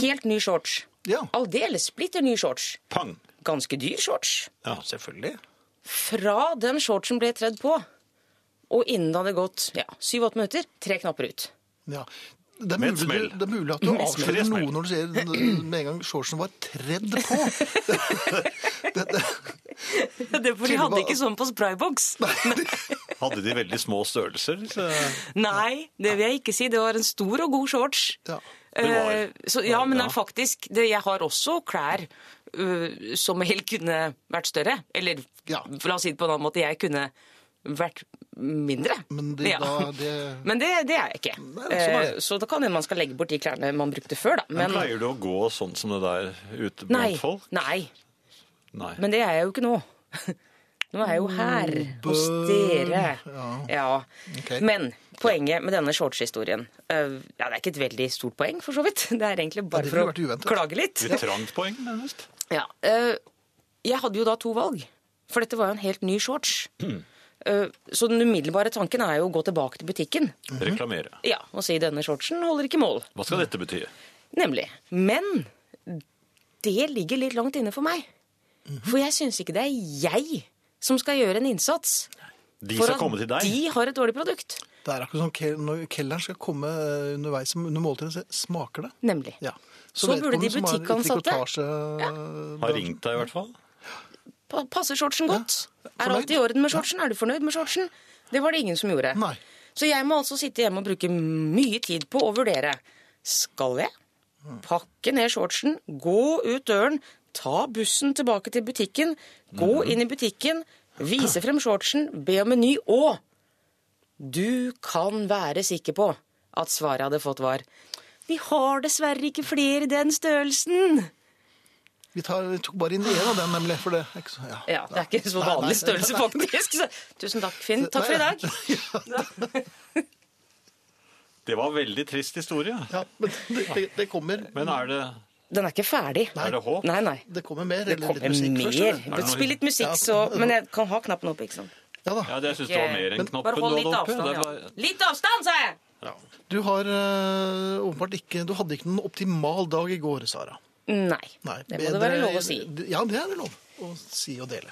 Speaker 3: helt ny shorts.
Speaker 1: Ja.
Speaker 3: Aldeles splitter ny shorts.
Speaker 2: Pang!
Speaker 3: Ganske dyr shorts.
Speaker 2: Ja, selvfølgelig.
Speaker 3: Fra den shortsen ble tredd på, og innen det hadde gått ja, syv-åtte minutter, tre knapper ut.
Speaker 1: Ja. Det er,
Speaker 2: Med et
Speaker 1: mulig,
Speaker 2: smell.
Speaker 1: det er mulig at du
Speaker 2: et smell.
Speaker 1: avslører
Speaker 2: Tre
Speaker 1: noe når du sier med en gang shortsen var tredd på.
Speaker 3: [LAUGHS]
Speaker 1: det, det,
Speaker 3: Det for
Speaker 1: de hadde ikke
Speaker 3: sånn på sprayboks.
Speaker 2: Hadde de veldig små størrelser? disse-
Speaker 3: Eh, Nei, det vil jeg ikke si. Det var en stor og god shorts.
Speaker 1: ja.
Speaker 2: Det var-
Speaker 3: Eh, så, ja, men
Speaker 2: Ja.
Speaker 3: eh, faktisk, det, jeg har også klær eh, som helt kunne vært større. Eller
Speaker 1: Ja.
Speaker 3: for la oss si det på en annen måte, jeg kunne vært mindre.
Speaker 1: Men det,
Speaker 3: Ja.
Speaker 1: da, det
Speaker 3: [LAUGHS] Men det, det er jeg ikke.
Speaker 1: sånn er det.
Speaker 3: Eh, så da kan hende man skal legge bort de klærne man brukte før, da.
Speaker 2: Men
Speaker 3: Men,
Speaker 2: pleier du å gå sånn som det der ute blant
Speaker 3: nei,
Speaker 2: folk?
Speaker 3: nei,
Speaker 2: Nei.
Speaker 3: men det er jeg jo ikke nå. [LAUGHS] Nå er jeg jo her hos dere. Ja.
Speaker 1: Ok.
Speaker 3: Men poenget med denne shortshistorien eh, Ja, det er ikke et veldig stort poeng, for så vidt. [LAUGHS] Det er egentlig bare
Speaker 1: det kunne vært
Speaker 3: for å
Speaker 1: uventet.
Speaker 3: klage litt.
Speaker 2: Litt trangt poeng, nærmest.
Speaker 3: Ja, eh, jeg hadde jo da to valg, for dette var jo en helt ny shorts.
Speaker 2: Hmm.
Speaker 3: Eh, så den umiddelbare tanken er jo å gå tilbake til butikken
Speaker 2: Reklamere.
Speaker 3: Ja, og si denne shortsen holder ikke mål.
Speaker 2: Hva skal dette bety?
Speaker 3: Nemlig. Men det ligger litt langt inne for meg.
Speaker 2: Mhm.
Speaker 3: For jeg syns ikke det er jeg som skal gjøre en innsats
Speaker 2: De
Speaker 3: for
Speaker 2: skal
Speaker 3: at
Speaker 2: komme til deg.
Speaker 3: de har et dårlig produkt.
Speaker 1: Det er akkurat som ke- når kelneren skal komme eh, underveis som- under måltidet og se smaker det.
Speaker 3: Nemlig.
Speaker 1: Ja.
Speaker 3: Så burde de
Speaker 1: vedkommende som har
Speaker 3: butikkansatte-
Speaker 1: trikotasje-
Speaker 2: Har ringt deg, i hvert fall.
Speaker 3: Pa- Passer shortsen godt? Er alt
Speaker 1: fornøyd?
Speaker 3: i orden med shortsen? Er du fornøyd med shortsen? Det var det ingen som gjorde.
Speaker 1: Nei.
Speaker 3: Så jeg må altså sitte hjemme og bruke mye tid på å vurdere. Skal jeg pakke ned shortsen, gå ut døren, ta bussen tilbake til butikken, gå
Speaker 1: Mhm.
Speaker 3: inn i butikken, vise frem shortsen, be om en ny og Du kan være sikker på at svaret jeg hadde fått, var Vi har dessverre ikke flere i den størrelsen.
Speaker 1: Vi, tar, vi tok bare inn én av den, nemlig. For det er ikke så, ja.
Speaker 3: Ja, det er ikke en så
Speaker 1: Nei, nei,
Speaker 3: vanlig
Speaker 1: nei,
Speaker 3: størrelse, faktisk. Så, tusen takk, Finn. Takk for i dag.
Speaker 2: Det var veldig trist historie.
Speaker 1: Ja, men det, det, det kommer
Speaker 2: Men er det,
Speaker 3: Den er ikke ferdig.
Speaker 2: er det håp?
Speaker 3: Nei, nei.
Speaker 1: Det kommer mer.
Speaker 3: Det
Speaker 1: eller litt
Speaker 3: kommer
Speaker 1: musikk først, eller?
Speaker 3: mer. Spill litt musikk,
Speaker 1: Ja.
Speaker 3: så Men jeg kan ha knappen oppe, ikke sant.
Speaker 1: Ja da.
Speaker 2: Ja, det syns det var mer enn
Speaker 1: Men-
Speaker 2: knappen
Speaker 3: Bare
Speaker 2: du
Speaker 3: hold litt
Speaker 2: hadde oppe.
Speaker 3: avstand,
Speaker 2: Det var,
Speaker 3: ja. Litt avstand, sa jeg!
Speaker 1: Du har øh, åpenbart ikke Du hadde ikke noen optimal dag i går, Sara.
Speaker 3: Nei.
Speaker 1: Nei,
Speaker 3: Det må det være lov å si.
Speaker 1: Ja, det er det lov å si og dele.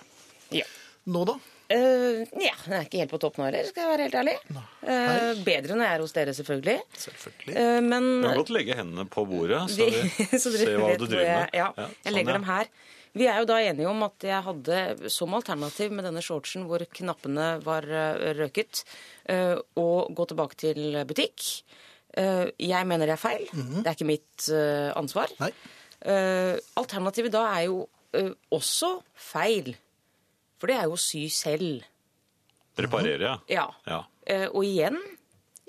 Speaker 3: Ja.
Speaker 1: Nå, da?
Speaker 3: Uh, ja, den er ikke helt på topp nå heller, skal jeg være helt ærlig. Eh, bedre når jeg er hos dere, selvfølgelig.
Speaker 1: Selvfølgelig.
Speaker 3: Eh, men
Speaker 2: du kan godt legge hendene på bordet, så
Speaker 3: de,
Speaker 2: vi
Speaker 3: [LAUGHS] så
Speaker 2: ser hva
Speaker 3: vet
Speaker 2: du
Speaker 3: hvor
Speaker 2: driver
Speaker 3: jeg,
Speaker 2: med.
Speaker 3: ja,
Speaker 2: sånn,
Speaker 3: jeg legger
Speaker 2: ja.
Speaker 3: dem her. Vi er jo da enige om at jeg hadde som alternativ med denne shortsen hvor knappene var eh, røket, eh, å gå tilbake til butikk. Eh, Jeg mener det er feil. Det er ikke mitt eh, ansvar.
Speaker 1: Mhm. Nei.
Speaker 3: Eh, Alternativet da er jo eh, også feil. For det er jo å sy selv.
Speaker 2: Reparere, ja.
Speaker 3: Ja.
Speaker 2: ja.
Speaker 3: Eh, Og igjen,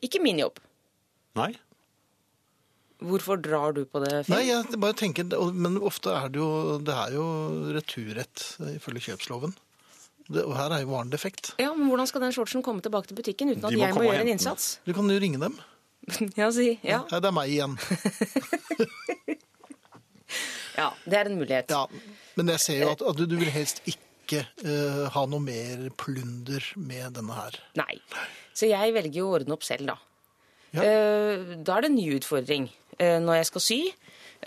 Speaker 3: ikke min jobb.
Speaker 2: Nei?
Speaker 3: Hvorfor drar du på det, Finn?
Speaker 1: Nei, jeg bare tenker, og- men ofte er det jo, det er jo returrett eh, ifølge kjøpsloven. Det, og her er jo varen defekt.
Speaker 3: Ja, men Hvordan skal den shortsen komme tilbake til butikken uten
Speaker 2: De
Speaker 3: at
Speaker 2: må
Speaker 3: jeg må
Speaker 2: komme og
Speaker 3: gjøre en
Speaker 2: hente den.
Speaker 3: innsats? [LAUGHS]
Speaker 1: Du kan jo ringe dem.
Speaker 3: Ja, si. Ja.
Speaker 1: Nei, det er meg igjen.
Speaker 3: ja, det er en mulighet.
Speaker 1: Ja, men jeg ser jo at, at du, du vil helst ikke eh, ha noe mer plunder med denne her.
Speaker 3: Nei. Så jeg velger jo å ordne opp selv, da.
Speaker 1: Ja.
Speaker 3: Eh, Da er det en ny utfordring eh, når jeg skal sy.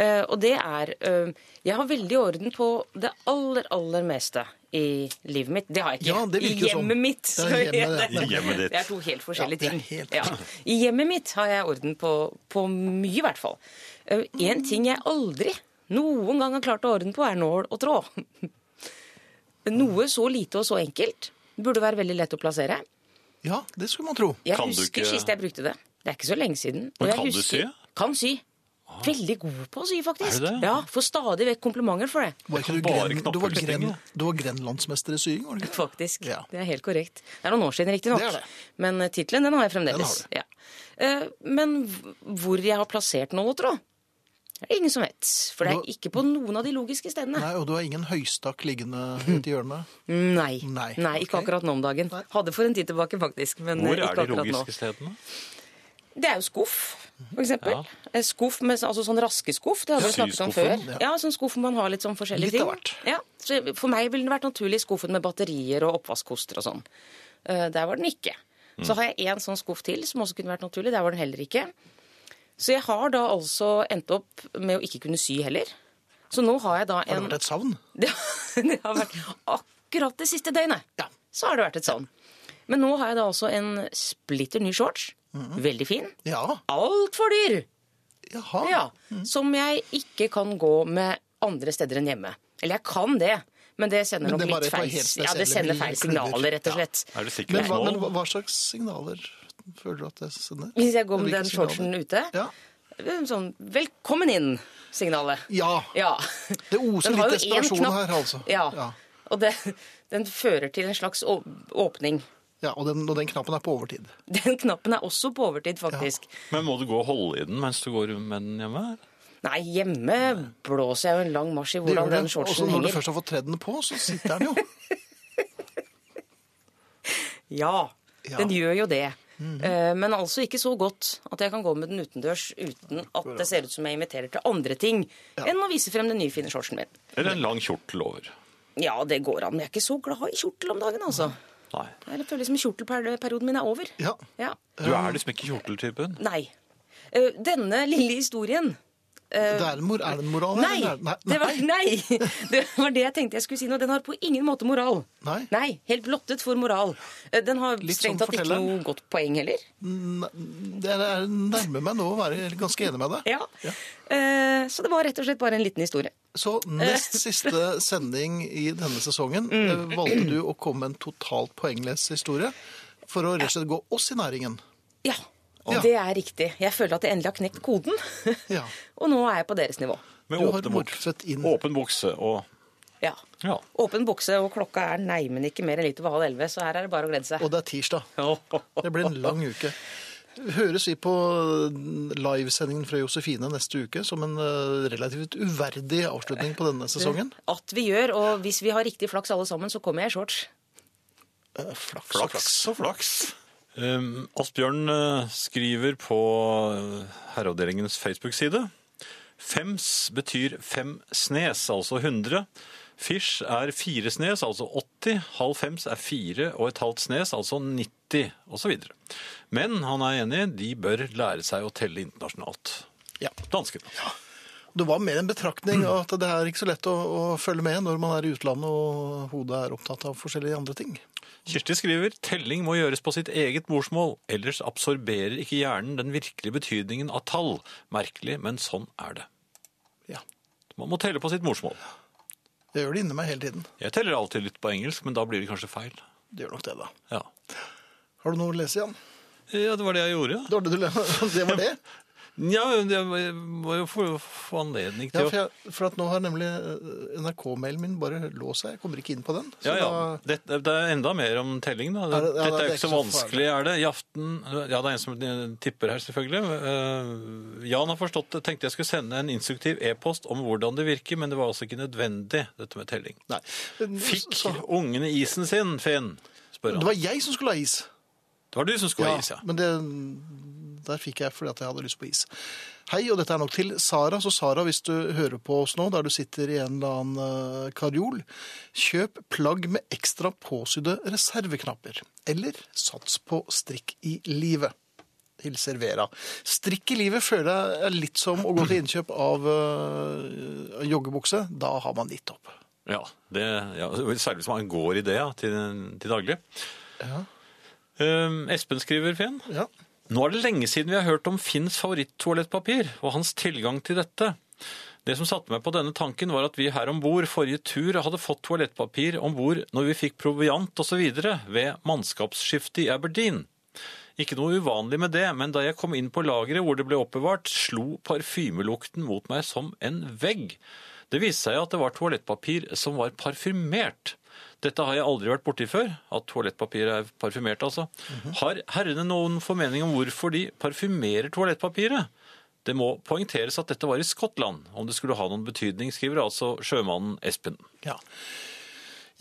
Speaker 3: Eh, Og det er eh, Jeg har veldig orden på det aller, aller meste i livet mitt. Det har jeg ikke.
Speaker 1: Ja, det
Speaker 3: I
Speaker 1: virker sånn.
Speaker 3: hjemmet mitt.
Speaker 1: Det er hjemmet,
Speaker 2: I hjemmet ditt.
Speaker 3: Det er to helt forskjellige
Speaker 1: Ja, det er
Speaker 3: ting.
Speaker 1: helt-
Speaker 3: Ja. I hjemmet mitt har jeg orden på, på mye, i hvert fall. Én ting jeg aldri noen gang har klart å ha orden på, er nål og tråd. [LAUGHS] Noe så lite og så enkelt burde være veldig lett å plassere.
Speaker 1: Ja, det skulle man tro.
Speaker 3: Jeg
Speaker 2: Kan du
Speaker 3: husker
Speaker 2: ikke-
Speaker 3: sist jeg brukte det. Det er ikke så lenge siden. Og
Speaker 2: Men
Speaker 3: jeg
Speaker 2: kan du sy? Ah.
Speaker 3: Kan sy. Veldig god på å sy,
Speaker 2: Er
Speaker 3: faktisk.
Speaker 2: du det?
Speaker 3: Ja, Får stadig vekk komplimenter for det. [LAUGHS]
Speaker 1: Var ikke du,
Speaker 2: kan bare
Speaker 1: gren,
Speaker 2: knapper
Speaker 1: du, var gren,
Speaker 2: stenge.
Speaker 1: du var grenlandsmester i sying, var du ikke?
Speaker 3: Faktisk.
Speaker 1: Ja.
Speaker 3: Det er helt korrekt. Det er noen år siden, riktignok.
Speaker 1: Det er det.
Speaker 3: Men eh, tittelen den har jeg
Speaker 1: Den
Speaker 3: fremdeles.
Speaker 1: har
Speaker 3: Ja. Eh, Men hv- hvor jeg har plassert nåletråd, det er det ingen som vet. For det
Speaker 1: Nå-
Speaker 3: er ikke på noen av de logiske stedene.
Speaker 1: Nei, og du har ingen høystakk liggende ute i hjørnet?
Speaker 3: Nei.
Speaker 1: Nei,
Speaker 3: ikke
Speaker 1: ok.
Speaker 3: akkurat nå om dagen. Hadde for en tid tilbake, faktisk. Men eh,
Speaker 2: Hvor
Speaker 3: ikke
Speaker 2: er de
Speaker 3: akkurat nå.
Speaker 2: logiske stedene?
Speaker 3: Det er jo skuff, for eksempel. Eh, Skuff med, altså sånn raskeskuff, det har vi
Speaker 2: Ja,
Speaker 3: snakket om før.
Speaker 2: syskuffen,
Speaker 1: ja.
Speaker 3: Ja, sånn skuff man har litt sånn forskjellige
Speaker 1: Litt
Speaker 3: ting.
Speaker 1: av hvert.
Speaker 3: Ja, så jeg- For meg ville den vært naturlig skuffen med batterier og oppvaskkoster og sånn. Eh, Der var den ikke.
Speaker 1: Mm.
Speaker 3: Så har jeg én sånn skuff til, som også kunne vært naturlig. Der var den heller ikke. Så jeg har da altså endt opp med å ikke kunne sy heller. Så nå har jeg da
Speaker 1: Har
Speaker 2: Mm.
Speaker 3: en
Speaker 1: det vært et savn?
Speaker 3: [LAUGHS] det, det har vært akkurat det siste døgnet.
Speaker 1: Ja.
Speaker 3: Så har det vært et sånn. Men nå har jeg da også en splitter ny shorts.
Speaker 1: Mm-hmm.
Speaker 3: Veldig fin.
Speaker 1: Ja.
Speaker 3: Altfor dyr!
Speaker 1: Jaha.
Speaker 3: Ja.
Speaker 1: Mm.
Speaker 3: Som jeg ikke kan gå med andre steder enn hjemme. Eller jeg kan det, men det sender
Speaker 1: Men det
Speaker 3: nok
Speaker 1: er bare
Speaker 3: litt
Speaker 1: på
Speaker 3: feil
Speaker 1: helt
Speaker 3: Ja, det
Speaker 1: spesielle
Speaker 3: sender feil
Speaker 1: klubber.
Speaker 3: signaler, rett og
Speaker 1: Ja.
Speaker 3: slett.
Speaker 2: Er du sikker
Speaker 1: Men hva,
Speaker 2: på
Speaker 1: men
Speaker 2: nå?
Speaker 1: hva slags signaler føler du at det sender?
Speaker 3: Hvis jeg går med
Speaker 1: Hvilke
Speaker 3: den shortsen
Speaker 1: signaler?
Speaker 3: ute,
Speaker 1: Ja.
Speaker 3: sånn 'velkommen inn'-signalet.
Speaker 1: Ja.
Speaker 3: Ja.
Speaker 1: Det oser
Speaker 3: Den har
Speaker 1: litt
Speaker 3: jo en
Speaker 1: desperasjon
Speaker 3: knapp.
Speaker 1: her, altså.
Speaker 3: Ja.
Speaker 1: Ja.
Speaker 3: Og det, den fører til en slags å- åpning.
Speaker 1: Ja, og, den, og den knappen er på overtid.
Speaker 3: Den knappen er også på overtid, faktisk.
Speaker 2: Men må du gå og holde i den mens du går med den hjemme?
Speaker 3: Nei, hjemme blåser jeg jo en lang marsj i
Speaker 1: Det
Speaker 3: hvordan
Speaker 1: gjør det.
Speaker 3: den
Speaker 1: Og så
Speaker 3: shortsen
Speaker 1: når du
Speaker 3: henger.
Speaker 1: først har fått tredd den på, så sitter den jo.
Speaker 3: Ja,
Speaker 1: Ja.
Speaker 3: den gjør jo det. Eh, Men altså ikke så godt at jeg kan gå med den utendørs uten at det ser ut som jeg inviterer til andre ting enn å vise frem den nye, fine shortsen min.
Speaker 2: Eller en lang kjortel over?
Speaker 3: Ja, det går an. men Jeg er ikke så glad i kjortel om dagen, altså.
Speaker 2: Nei.
Speaker 3: Jeg føler liksom kjortelperioden min er over.
Speaker 1: Ja.
Speaker 3: Ja.
Speaker 2: Du er liksom ikke kjorteltypen?
Speaker 3: Nei. Eh, Denne lille historien
Speaker 1: Det er en, mor, er det en moral? her,
Speaker 3: Eh, Nei,
Speaker 1: eller er det-
Speaker 3: Det, var, nei! [LAUGHS] Det var det jeg tenkte jeg skulle si nå. Den har på ingen måte moral.
Speaker 1: Nei.
Speaker 3: Helt blottet for moral. Eh, Den har
Speaker 1: Litt
Speaker 3: strengt
Speaker 1: som
Speaker 3: tatt ikke
Speaker 1: fortelleren.
Speaker 3: noe godt poeng heller.
Speaker 1: Nei, det er, nærmer meg nå å være ganske enig med deg.
Speaker 3: Ja. Eh, Så det var rett og slett bare en liten historie.
Speaker 1: Så nest siste sending i denne sesongen eh, valgte du å komme med en totalt poengløs historie for å rett og slett gå oss i næringen.
Speaker 3: Ja.
Speaker 1: Ja.
Speaker 3: Det er riktig. Jeg føler at jeg endelig har knekt koden.
Speaker 1: Ja.
Speaker 3: [LAUGHS] Og nå er jeg på deres nivå.
Speaker 2: Med
Speaker 1: Du har
Speaker 2: åpne bukser.
Speaker 1: morfet inn.
Speaker 2: Åpen bukse og
Speaker 3: Ja.
Speaker 2: Ja.
Speaker 3: Åpen bukse, og klokka er neimen ikke mer enn litt over halv elleve, så her er det bare å glede seg.
Speaker 1: Og det er tirsdag. Det blir en lang uke. Høres vi på eh, livesendingen fra Josefine neste uke som en eh, relativt uverdig avslutning på denne sesongen?
Speaker 3: At vi gjør, og hvis vi har riktig flaks alle sammen, så kommer jeg i shorts.
Speaker 1: Eh, Flaks og
Speaker 2: Flaks og flaks. Um, Asbjørn eh, skriver på eh, Herreavdelingens Facebook-side. Fems betyr fem snes, altså 100. Fish er fire snes, altså 80. Halv fems er fire og et halvt snes, altså 90, osv. Men han er enig, de bør lære seg å telle internasjonalt.
Speaker 1: Ja.
Speaker 2: Danskene.
Speaker 1: Det var mer en betraktning av at det er ikke så lett å, å følge med når man er i utlandet og hodet er opptatt av forskjellige andre ting.
Speaker 2: Kirsti skriver telling må gjøres på sitt eget morsmål, ellers absorberer ikke hjernen den virkelige betydningen av tall. Merkelig, men sånn er det.
Speaker 1: Ja,
Speaker 2: Man må telle på sitt morsmål.
Speaker 1: Jeg gjør det inni meg hele tiden.
Speaker 2: Jeg teller alltid litt på engelsk, men da blir det kanskje feil.
Speaker 1: Det gjør nok det, da.
Speaker 2: Ja,
Speaker 1: Har du noe å lese igjen?
Speaker 2: ja det var det jeg gjorde.
Speaker 1: Det var det, du le- [LAUGHS] det, var det.
Speaker 2: Ja, jeg må jo få, få anledning
Speaker 1: Ja,
Speaker 2: til
Speaker 1: for,
Speaker 2: å
Speaker 1: jeg, for at nå har nemlig eh, NRK-mailen min bare låst seg. Jeg kommer ikke inn på den. Så
Speaker 2: ja, ja.
Speaker 1: da
Speaker 2: Det, det er enda mer om telling, da.
Speaker 1: Er det- ja,
Speaker 2: Dette er jo
Speaker 1: det er
Speaker 2: ikke så
Speaker 1: ikke så
Speaker 2: vanskelig, er det? I aften Ja, det er en som tipper her, selvfølgelig. Eh, Jan har forstått det. Tenkte jeg skulle sende en instruktiv e-post om hvordan det virker, men det var altså ikke nødvendig, dette med telling.
Speaker 1: Nei.
Speaker 2: Fikk
Speaker 1: Så,
Speaker 2: ungene isen sin, Finn? spør han.
Speaker 1: det var jeg som skulle ha is.
Speaker 2: Det var du som skulle ha is, ja.
Speaker 1: Men det, der fikk jeg fordi at jeg hadde lyst på is. Hei, og dette er nok til Sara. Så Sara, hvis du hører på oss nå, der du sitter i en eller annen eh, karjol, kjøp plagg med ekstra påsydde reserveknapper. Eller sats på strikk i livet. Hilser Vera. Strikk i livet føler jeg er litt som å gå til innkjøp av eh, joggebukse. Da har man gitt opp.
Speaker 2: Ja, det, ja, Særlig hvis man går i det ja, til, til daglig.
Speaker 1: Ja.
Speaker 2: Um, Espen skriver, Finn.
Speaker 1: Ja.
Speaker 2: Nå er det lenge siden vi har hørt om Finns favoritttoalettpapir og hans tilgang til dette. Det som satte meg på denne tanken, var at vi her om bord forrige tur hadde fått toalettpapir om bord når vi fikk proviant osv. ved mannskapsskiftet i Aberdeen. Ikke noe uvanlig med det, men da jeg kom inn på lageret hvor det ble oppbevart, slo parfymelukten mot meg som en vegg. Det viste seg at det var toalettpapir som var parfymert. Dette har jeg aldri vært borti før, at toalettpapir er parfymert, altså. Har herrene noen formening om hvorfor de parfymerer toalettpapiret? Det må poengteres at dette var i Skottland, om det skulle ha noen betydning, skriver altså sjømannen Espen.
Speaker 1: Ja.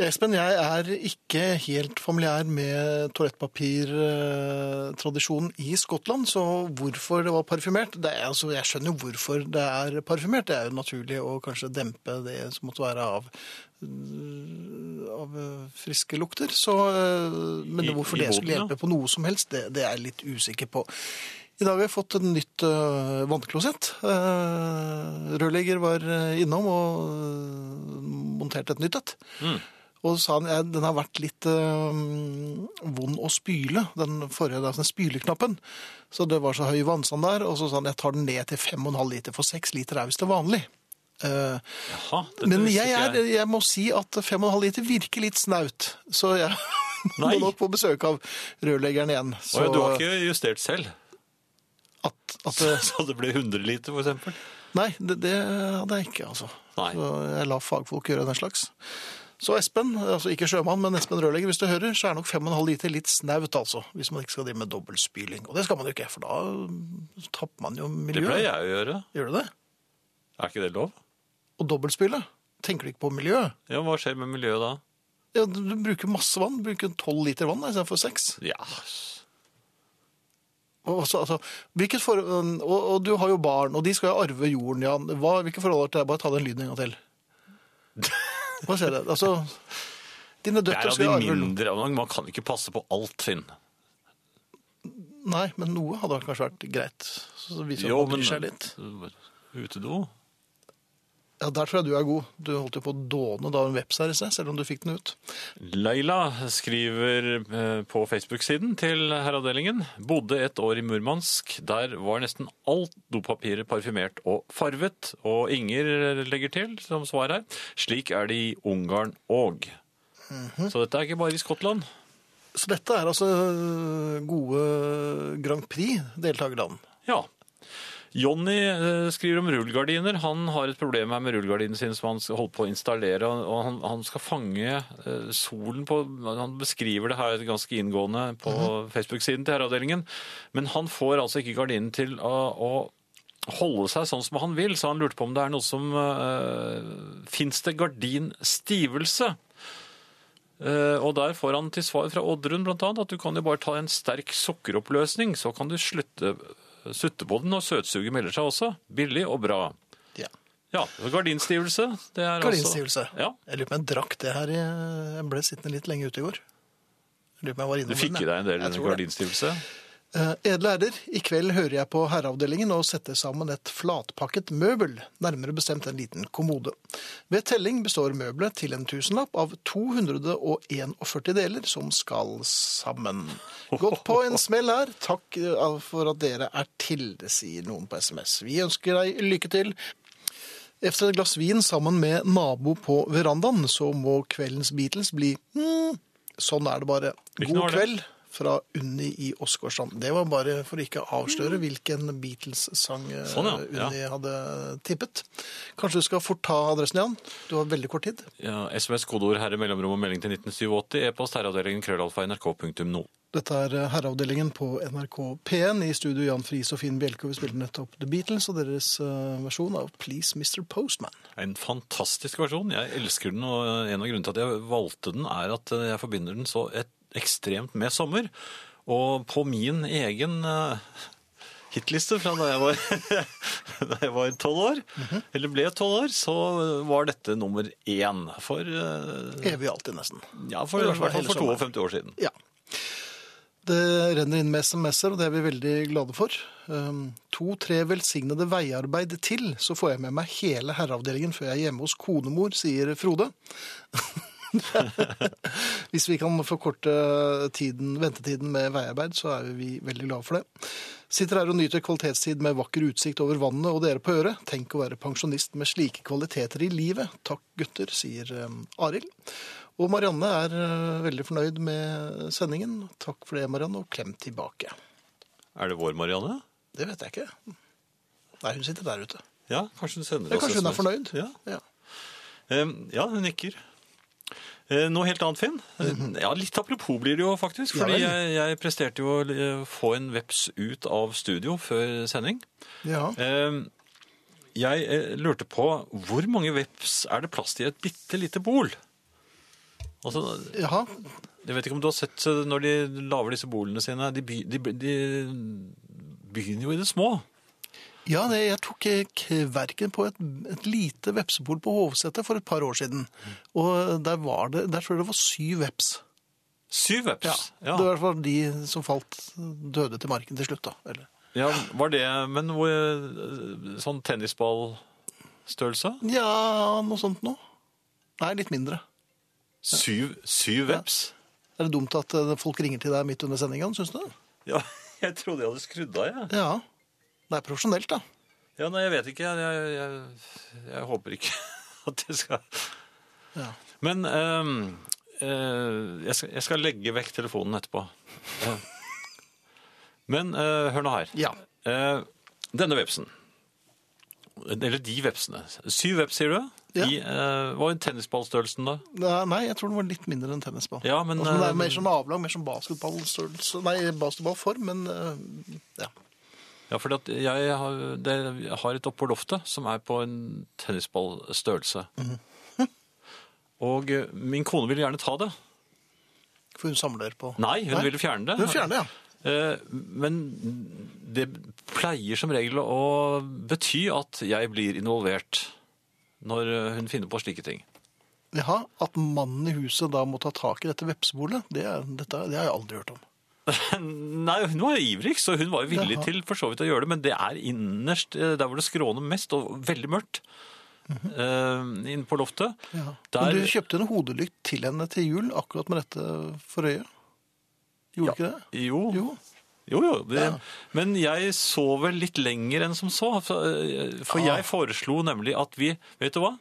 Speaker 1: Espen, jeg er ikke helt familiær med toalettpapirtradisjonen i Skottland, så hvorfor det var parfymert det er, altså, Jeg skjønner jo hvorfor det er parfymert. Det er jo naturlig å kanskje dempe det som måtte være av, av eh, friske lukter. Så, eh, men
Speaker 2: I-
Speaker 1: hvorfor
Speaker 2: i
Speaker 1: det skulle
Speaker 2: båten, ja.
Speaker 1: hjelpe på noe som helst, det, det er jeg litt usikker på. I dag har vi fått et nytt øh, vannklosett. Eh, rørlegger var eh, innom og øh, monterte et nytt et.
Speaker 2: Mm.
Speaker 1: Og sa han, ja, den har vært litt eh, vond å spyle, den forrige, altså den spyleknappen. Så det var så høy vannstand der, og så sa han, jeg tar den ned til 5,5 liter, for 6 liter er hvis det er vanlig. Eh,
Speaker 2: Jaha, dette
Speaker 1: men
Speaker 2: visste
Speaker 1: jeg,
Speaker 2: ikke
Speaker 1: er, jeg må si at 5,5 liter virker litt snaut, så jeg [LAUGHS] må
Speaker 2: Nei.
Speaker 1: nok på besøk av rørleggeren igjen.
Speaker 2: Å ja, du har ikke justert selv,
Speaker 1: At, at, eh,
Speaker 2: så, [LAUGHS] så det ble 100 liter for eksempel?
Speaker 1: nei, det, det hadde jeg ikke, altså.
Speaker 2: Nei.
Speaker 1: Så jeg la fagfolk gjøre den slags. Så Espen, altså ikke sjømann, men Espen Rørlegger, hvis du hører, så er nok 5,5 liter litt snaut, altså. Hvis man ikke skal drive med dobbeltspyling. Og det skal man jo ikke, for da mm, tapper man jo
Speaker 2: Det
Speaker 1: miljøet.
Speaker 2: pleier jeg å gjøre.
Speaker 1: Gjør du det?
Speaker 2: Er ikke det lov?
Speaker 1: Og dobbeltspyle? Tenker du ikke på miljøet?
Speaker 2: Ja, hva skjer med miljøet da?
Speaker 1: Ja, du, du bruker masse vann. Bruker 12 liter vann da, istedenfor 6.
Speaker 2: Ja,
Speaker 1: Og, så, altså, hvilket for, og, og du har jo barn, og de skal jo arve jorden, Jan. Hva, hvilke forhold er det til deg? Bare ta den lyden en gang
Speaker 2: [LAUGHS]
Speaker 1: til. Hva skjer det? Altså, dine
Speaker 2: det er
Speaker 1: døtre
Speaker 2: av
Speaker 1: skal
Speaker 2: de
Speaker 1: jo arve jorden.
Speaker 2: mindre. Man man kan ikke passe på alt, Finn.
Speaker 1: Nei, men noe hadde kanskje vært greit. Så det viser jo,
Speaker 2: Jo,
Speaker 1: at man
Speaker 2: men-
Speaker 1: bryr seg litt.
Speaker 2: Utedo?
Speaker 1: Ja, Der tror jeg du er god. Du holdt jo på å dåne da en veps her i seg, selv om du fikk den ut.
Speaker 2: Leila skriver eh, på Facebook-siden til herreavdelingen bodde et år i Murmansk. Der var nesten alt dopapiret parfymert og farvet. Og Inger legger til som svar her slik er det i Ungarn òg.
Speaker 1: Mhm.
Speaker 2: Så dette er ikke bare i Skottland.
Speaker 1: Så dette er altså gode Grand Prix-deltakerland.
Speaker 2: Ja. Johnny eh, skriver om rullegardiner. Han har et problem her med rullegardinene sine som han skal- holder på å installere. og Han, han skal fange eh, solen på Han beskriver det her ganske inngående på Facebook-siden til herreavdelingen. Men han får altså ikke gardinen til å, å holde seg sånn som han vil, så han lurte på om det er noe som uh, Fins det gardinstivelse? Eh, Og der får han til svar fra Oddrun blant annet at du kan jo bare ta en sterk sukkeroppløsning, så kan du slutte, sutte på den når søtsuget melder seg også. Billig og bra.
Speaker 1: Ja.
Speaker 2: Ja, gardinstivelse. Det er
Speaker 1: Gardinstivelse.
Speaker 2: Altså, ja.
Speaker 1: Jeg lurer på om jeg drakk det her. i- Jeg ble sittende litt lenge ute i går. Jeg lurer på om jeg var innom
Speaker 2: Du fikk
Speaker 1: den,
Speaker 2: i deg en del
Speaker 1: Jeg tror det.
Speaker 2: gardinstivelse.
Speaker 1: Eh, Edle ærer, i kveld hører jeg på herreavdelingen og setter sammen et flatpakket møbel, nærmere bestemt en liten kommode. Ved telling består møbelet til en tusenlapp av 241 deler som skal sammen. Godt på en smell her. Takk eh, for at dere er til, det sier noen på SMS. Vi ønsker deg lykke til. Efter et glass vin sammen med nabo på verandaen, så må kveldens Beatles bli mm, Sånn er det bare.
Speaker 2: Hvilken
Speaker 1: God
Speaker 2: var det?
Speaker 1: kveld fra Unni i Åsgårdstrand. Det var bare for å ikke avsløre hvilken Beatles-sang eh,
Speaker 2: Mm. Sånn, ja. Ja.
Speaker 1: Unni hadde tippet. Kanskje du skal fort ta adressen, Jan? Du har veldig kort tid.
Speaker 2: Ja, SMS, kodeord, herre, mellomrom og melding til 1987. E-post herreavdelingen krøllalfa nrk.no.
Speaker 1: Dette er eh, herreavdelingen på NRK P1 i studio Jan Friis og Finn Bjelke. Vi spilte nettopp The Beatles og deres eh, versjon av Please Mr. Postman.
Speaker 2: En fantastisk versjon. Jeg elsker den, og en av grunnene til at jeg valgte den, er at jeg forbinder den så et, ekstremt med sommer. Og på min egen eh, hitliste fra da jeg var, [LAUGHS] da jeg var 12 år, eller ble 12 år, så var dette nummer én. For, eh,
Speaker 1: Evig alltid, nesten.
Speaker 2: ja, for,
Speaker 1: Det
Speaker 2: i
Speaker 1: var
Speaker 2: hvert fall
Speaker 1: hele
Speaker 2: for
Speaker 1: sommeren.
Speaker 2: 52 år siden.
Speaker 1: Ja. Det renner inn med SMS-er, og det er vi veldig glade for. Um, To-tre velsignede veiarbeid til, så får jeg med meg hele herreavdelingen før jeg er hjemme hos konemor, sier Frode. Hvis vi kan forkorte tiden, ventetiden med veiarbeid, så er vi veldig glade for det. Sitter her og nyter kvalitetstid med vakker utsikt over vannet og dere på øret. Tenk å være pensjonist med slike kvaliteter i livet. Takk, gutter, sier eh, Arild. Og Marianne er eh, veldig fornøyd med sendingen. Takk for det, Marianne, og klem tilbake.
Speaker 2: Er det vår Marianne?
Speaker 1: Det vet jeg ikke. Nei, hun sitter der ute.
Speaker 2: Ja, kanskje hun sender
Speaker 1: Ja,
Speaker 2: oss
Speaker 1: kanskje hun er
Speaker 2: SMS.
Speaker 1: fornøyd.
Speaker 2: Ja.
Speaker 1: Ja.
Speaker 2: Eh, Ja, hun nikker. Eh, Noe helt annet, Finn. Eh, Ja, Litt apropos blir det jo, faktisk.
Speaker 1: Mhm. Ja
Speaker 2: Fordi
Speaker 1: vel.
Speaker 2: jeg, jeg presterte jo å eh, få en veps ut av studio før sending.
Speaker 1: ja.
Speaker 2: Eh, Jeg eh, lurte på hvor mange veps er det plass til i et bitte lite bol? Altså,
Speaker 1: Jaha.
Speaker 2: jeg vet ikke om du har sett eh, når de lager disse bolene sine. De, by, de, de begynner jo i det små.
Speaker 1: Ja, det, jeg tok eh, kverken på et, et lite vepsebol på Hovseter for et par år siden. Og der var det, der tror jeg det var syv veps.
Speaker 2: Syv veps.
Speaker 1: Det var i hvert fall de som falt døde til marken til slutt da. Eller?
Speaker 2: Ja, var det Men hvor, sånn tennisballstørrelse?
Speaker 1: Ja, noe sånt nå. Nei, litt mindre.
Speaker 2: Syv, syv veps?
Speaker 1: Er det dumt at eh, folk ringer til deg midt under sendingen, synes du?
Speaker 2: Ja, [LAUGHS] jeg trodde jeg hadde skrudd av, jeg.
Speaker 1: Ja. Det er profesjonelt da.
Speaker 2: Ja, nei, jeg vet ikke. Jeg, jeg, jeg, jeg håper ikke [LAUGHS] at jeg skal
Speaker 1: Ja.
Speaker 2: Men ehm, eh, jeg, skal, jeg skal legge vekk telefonen etterpå. Ja. Men eh, hør nå her.
Speaker 1: Ja.
Speaker 2: Eh, denne vepsen, eller de vepsene Syv veps, sier du?
Speaker 1: Ja.
Speaker 2: I, eh, hva er tennisballstørrelsen, da?
Speaker 1: Nei, jeg tror den var litt mindre enn tennisball.
Speaker 2: Ja, men,
Speaker 1: altså, det
Speaker 2: eh,
Speaker 1: er mer som avlang, mer som basketballstørrelse. Nei, basketballform, men eh, ja.
Speaker 2: Ja, for jeg har, det, jeg har et oppå loftet som er på en tennisballstørrelse.
Speaker 1: Mhm. [LAUGHS]
Speaker 2: Og eh, min kone ville gjerne ta det.
Speaker 1: For hun samler på
Speaker 2: Nei, hun ville fjerne det.
Speaker 1: Hun fjerner, ja.
Speaker 2: Eh, Men det pleier som regel å bety at jeg blir involvert når hun finner på slike ting. [LAUGHS]
Speaker 1: Jaha, At mannen i huset da må ta tak i dette vepsebolet, det, er- dette, det har jeg aldri hørt om.
Speaker 2: Nei, hun var ivrig, så hun var jo villig
Speaker 1: Jaha.
Speaker 2: til for så vidt å gjøre det, men det er innerst, eh, der hvor det skråner mest, og veldig mørkt, eh, inne på loftet.
Speaker 1: Mhm. Ja.
Speaker 2: Der-
Speaker 1: Men du kjøpte en hodelykt til henne til jul akkurat med dette for øyet? Gjorde du ikke det?
Speaker 2: Jo, jo,
Speaker 1: Jo.
Speaker 2: jo. det,
Speaker 1: Ja.
Speaker 2: Men jeg så vel litt lenger enn som så, for, eh, for
Speaker 1: Ah.
Speaker 2: jeg foreslo nemlig at vi, vet du hva?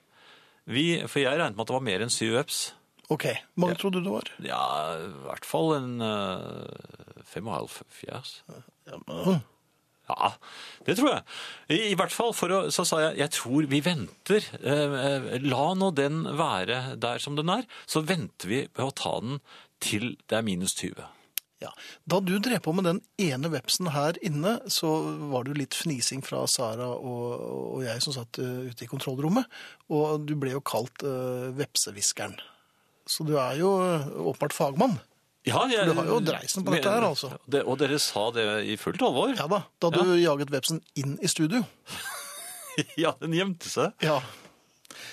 Speaker 2: Vi, for jeg regnet med at det var mer enn syv veps.
Speaker 1: Ok. Hvor mange trodde du det var?
Speaker 2: Ja, i hvert fall en eh, fem og halv fjers.
Speaker 1: Ja, men,
Speaker 2: Ja, det tror jeg. I, i hvert fall, for å, så sa jeg, jeg tror vi venter. Eh, eh, la nå den være der som den er, så venter vi med å ta den til det er minus 20.
Speaker 1: ja. Da du drev på med den ene vepsen her inne, så var det jo litt fnising fra Sara og, og jeg som satt eh, ute i kontrollrommet. Og du ble jo kalt eh, vepsehviskeren. Så du er jo eh, åpenbart fagmann.
Speaker 2: Ja, jeg,
Speaker 1: For du har jo dreisen på dette her, altså.
Speaker 2: Det, og dere sa det i fullt alvor.
Speaker 1: Ja da, da du jaget vepsen inn i studio.
Speaker 2: [LAUGHS] Ja, den gjemte seg.
Speaker 1: Ja.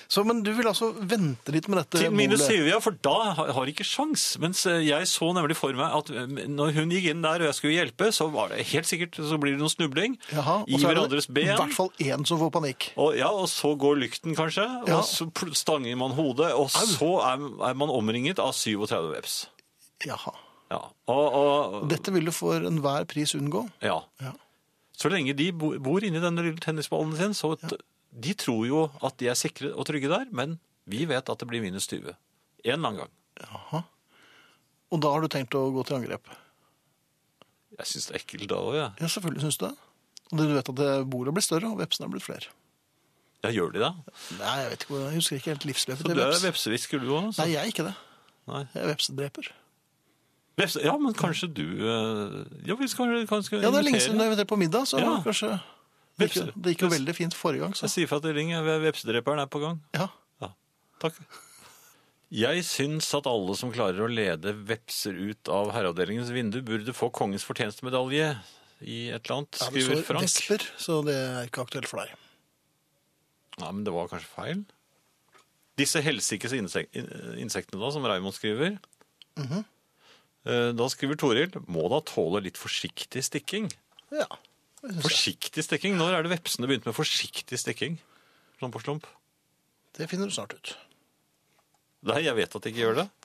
Speaker 1: Så, men du vil altså vente litt med dette?
Speaker 2: Til minus
Speaker 1: målet.
Speaker 2: 20, ja, for da har har jeg ikke sjans. Mens eh, jeg så nemlig for meg at eh, når hun gikk inn der og jeg skulle hjelpe, så var det helt sikkert så blir det noen snubling
Speaker 1: Jaha, og
Speaker 2: i
Speaker 1: så er det
Speaker 2: hverandres ben.
Speaker 1: I hvert fall én som får panikk.
Speaker 2: Og, ja, og så går lykten kanskje,
Speaker 1: Ja.
Speaker 2: og så pl- stanger man hodet, og så er, er man omringet av 37 veps.
Speaker 1: Jaha.
Speaker 2: Ja. Og, og,
Speaker 1: Dette vil du for enhver pris unngå.
Speaker 2: ja.
Speaker 1: Ja.
Speaker 2: Så lenge de bo, bor inni denne lille tennisballen sin, så t- de tror jo at de er sikre og trygge der, men vi vet at det blir minus 20. En eller annen gang.
Speaker 1: Jaha. Og da har du tenkt å gå til angrep?
Speaker 2: Jeg synes det er ekkelt da også, jeg.
Speaker 1: Ja, selvfølgelig syns du det. Og det du vet at det- bordet blir større, og vepsene er blitt flere.
Speaker 2: Ja, gjør de det?
Speaker 1: Nei, jeg vet ikke, hvor- jeg husker ikke helt livsløpet
Speaker 2: Så
Speaker 1: til
Speaker 2: du er
Speaker 1: veps.
Speaker 2: vepsevisker du også?
Speaker 1: Nei,
Speaker 2: så-
Speaker 1: jeg er ikke det.
Speaker 2: Nei.
Speaker 1: Jeg er vepsedreper.
Speaker 2: Vepse, ja, men kanskje du... eh, Ja, vi skal kanskje
Speaker 1: Ja, det er lenge
Speaker 2: invitere.
Speaker 1: siden jeg inviterte på middag, så
Speaker 2: Ja.
Speaker 1: kanskje det gikk, jo- det gikk jo veldig fint forrige gang,
Speaker 2: Jeg
Speaker 1: så
Speaker 2: sier for at det ringer, vepsedreperen er på gang.
Speaker 1: ja.
Speaker 2: Ja, takk. Jeg syns at alle som klarer å lede vepser ut av herreavdelingens vindu, burde få kongens fortjenstmedalje i et eller annet,
Speaker 1: Ja, det
Speaker 2: skriver
Speaker 1: står
Speaker 2: Frank.
Speaker 1: vesper, så det er ikke aktuelt for deg.
Speaker 2: Ja, men det var kanskje feil? Disse helsikes insek in- insektene da, som Raimond skriver. Eh, Da skriver Toril må da tåle litt forsiktig stikking.
Speaker 1: Ja, det synes jeg.
Speaker 2: Forsiktig stikking? Når er det vepsene begynte med forsiktig stikking? Sånn på slump?
Speaker 1: Det finner du snart ut.
Speaker 2: Nei, jeg vet at jeg ikke gjør det. [LAUGHS]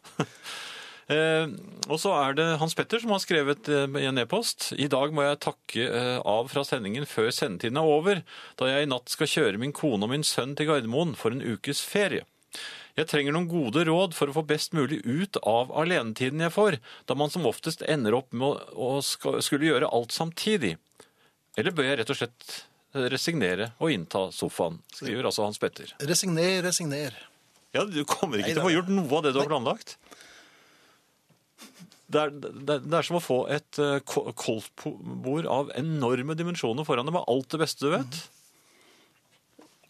Speaker 2: Eh, og så er det Hans Petter som har skrevet eh, i en e-post. I dag må jeg takke eh, av fra sendingen før sendetiden er over, da jeg i natt skal kjøre min kone og min sønn til Gardermoen for en ukes ferie. Jeg trenger noen gode råd for å få best mulig ut av alenetiden jeg får, da man som oftest ender opp med å, å ska- skulle gjøre alt samtidig. Eller bør jeg rett og slett eh, resignere og innta sofaen, skriver altså Hans Petter.
Speaker 1: Resigner, resigner.
Speaker 2: Ja, Du kommer ikke
Speaker 1: Nei,
Speaker 2: til å få
Speaker 1: det-
Speaker 2: gjort noe av det du har planlagt. Det er, det, er, det er som å få et eh, ko- koldtbord av enorme dimensjoner foran deg med alt det beste du vet.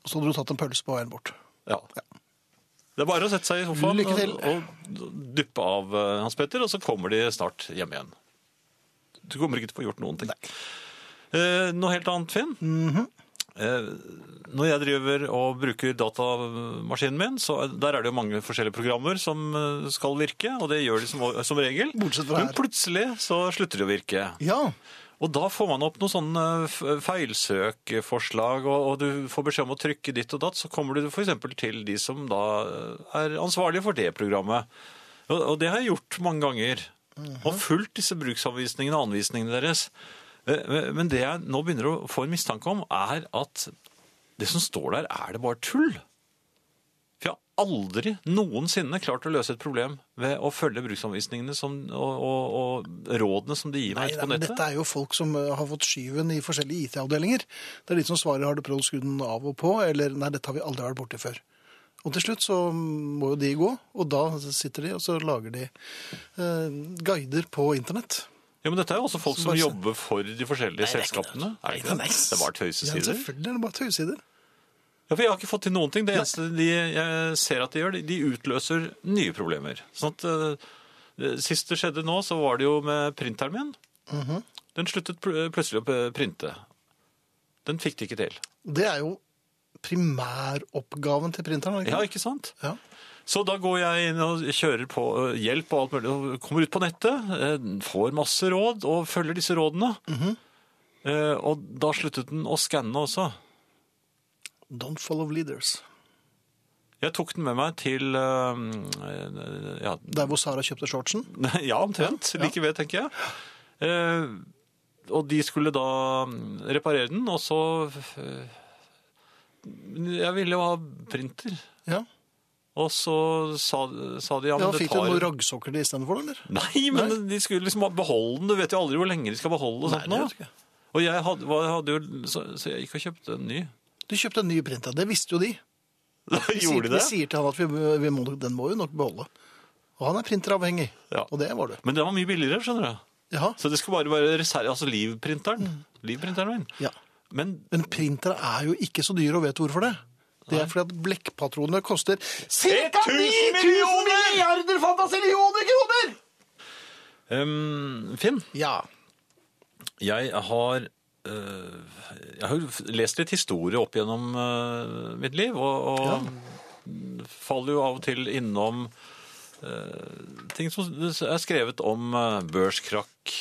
Speaker 1: Så hadde du tatt en pølse på veien bort.
Speaker 2: Ja. Det er bare å sette seg i sofaen
Speaker 1: Lykke til.
Speaker 2: og og duppe av eh, Hans Petter, og så kommer de snart hjem igjen. Du kommer ikke til å få gjort noen ting. Eh, noe helt annet, Finn.
Speaker 1: Mhm.
Speaker 2: eh, når jeg driver og bruker datamaskinen min, så er- der er det jo mange forskjellige programmer som eh, skal virke, og det gjør de som, som regel.
Speaker 1: Bortsett fra
Speaker 2: Men
Speaker 1: her.
Speaker 2: plutselig så slutter de å virke.
Speaker 1: Ja.
Speaker 2: Og da får man opp noen sånne eh, f- feilsøkforslag, og, og du får beskjed om å trykke ditt og datt, så kommer du f.eks. til de som da eh, er ansvarlige for det programmet. Og, og det har jeg gjort mange ganger.
Speaker 1: Mhm.
Speaker 2: Og fulgt disse bruksanvisningene og anvisningene deres. Eh, Men det jeg nå begynner å få en mistanke om, er at det som står der, er det bare tull. For jeg har aldri noensinne klart å løse et problem ved å følge bruksanvisningene som, og, og, og rådene som de gir
Speaker 1: Nei,
Speaker 2: meg ute
Speaker 1: nei,
Speaker 2: på
Speaker 1: men
Speaker 2: nettet.
Speaker 1: dette er jo folk som eh, har fått skyven i forskjellige IT-avdelinger. Det er de som svarer 'har du prøvd å skru den av og på', eller 'nei, dette har vi aldri vært borti før'. Og til slutt så må jo de gå, og da sitter de og så lager de eh, guider på internett.
Speaker 2: Ja, men dette er jo også folk som
Speaker 1: Bare se-
Speaker 2: jobber for de forskjellige selskapene. Er det ikke det? Det
Speaker 1: Ja,
Speaker 2: var tøysesider.
Speaker 1: selvfølgelig er det bare tøysesider.
Speaker 2: Ja, for jeg har ikke fått til noen ting. Det eneste de jeg ser at de gjør, de- de utløser nye problemer. Sånn at eh, Sist det skjedde nå, så var det jo med printeren min. Den sluttet pl- plutselig å p- printe. Den fikk de ikke til.
Speaker 1: Det er jo primæroppgaven til printeren. er det
Speaker 2: Ja,
Speaker 1: Ikke?
Speaker 2: ikke sant?
Speaker 1: Ja.
Speaker 2: Så da går jeg inn og kjører på eh, hjelp og alt mulig, og kommer ut på nettet, eh, får masse råd og følger disse rådene. Eh, Og da sluttet den å skanne også.
Speaker 1: Don't follow leaders.
Speaker 2: Jeg tok den med meg til eh, ja, [LAUGHS]
Speaker 1: Der hvor Sara kjøpte shortsen.
Speaker 2: ja, omtrent. Like ved, tenker jeg. Eh, og de skulle da mm, reparere den, og så eh, Jeg ville jo ha printer.
Speaker 1: Ja.
Speaker 2: Og så sa, sa de ja,
Speaker 1: ja
Speaker 2: men det
Speaker 1: fikk du
Speaker 2: tar
Speaker 1: noen raggsokker til istedenfor, eller?
Speaker 2: [LAUGHS] Nei, men de skulle liksom beholde den. Du vet jo aldri hvor lenge de skal beholde og sånt
Speaker 1: Nei,
Speaker 2: nå.
Speaker 1: det vet jeg ikke.
Speaker 2: Og jeg hadde, var- hadde jo så, så jeg gikk og kjøpte en ny. [LAUGHS]
Speaker 1: Du kjøpte en ny printer. Det visste jo de. Vi sier,
Speaker 2: Gjorde
Speaker 1: Vi
Speaker 2: de det?
Speaker 1: sier til han at vi, vi må, den må vi nok beholde. Og han er printeravhengig.
Speaker 2: Ja.
Speaker 1: Og det var du.
Speaker 2: Men den var mye billigere, skjønner du.
Speaker 1: Jaha.
Speaker 2: Så det skulle bare være reserve, altså livprinteren. Livprinteren min.
Speaker 1: Ja.
Speaker 2: Men
Speaker 1: Men printere er jo ikke så dyre, og vet du hvorfor det? Det er fordi at blekkpatronene koster ca.
Speaker 2: 1000
Speaker 1: 9000 milliarder fantasillioner kroner!
Speaker 2: ehm, Finn,
Speaker 1: Ja.
Speaker 2: jeg har, øh, jeg har jo lest litt historie opp gjennom øh, mitt liv, og, og faller jo av og til innom øh, ting som er skrevet om øh, børskrakk.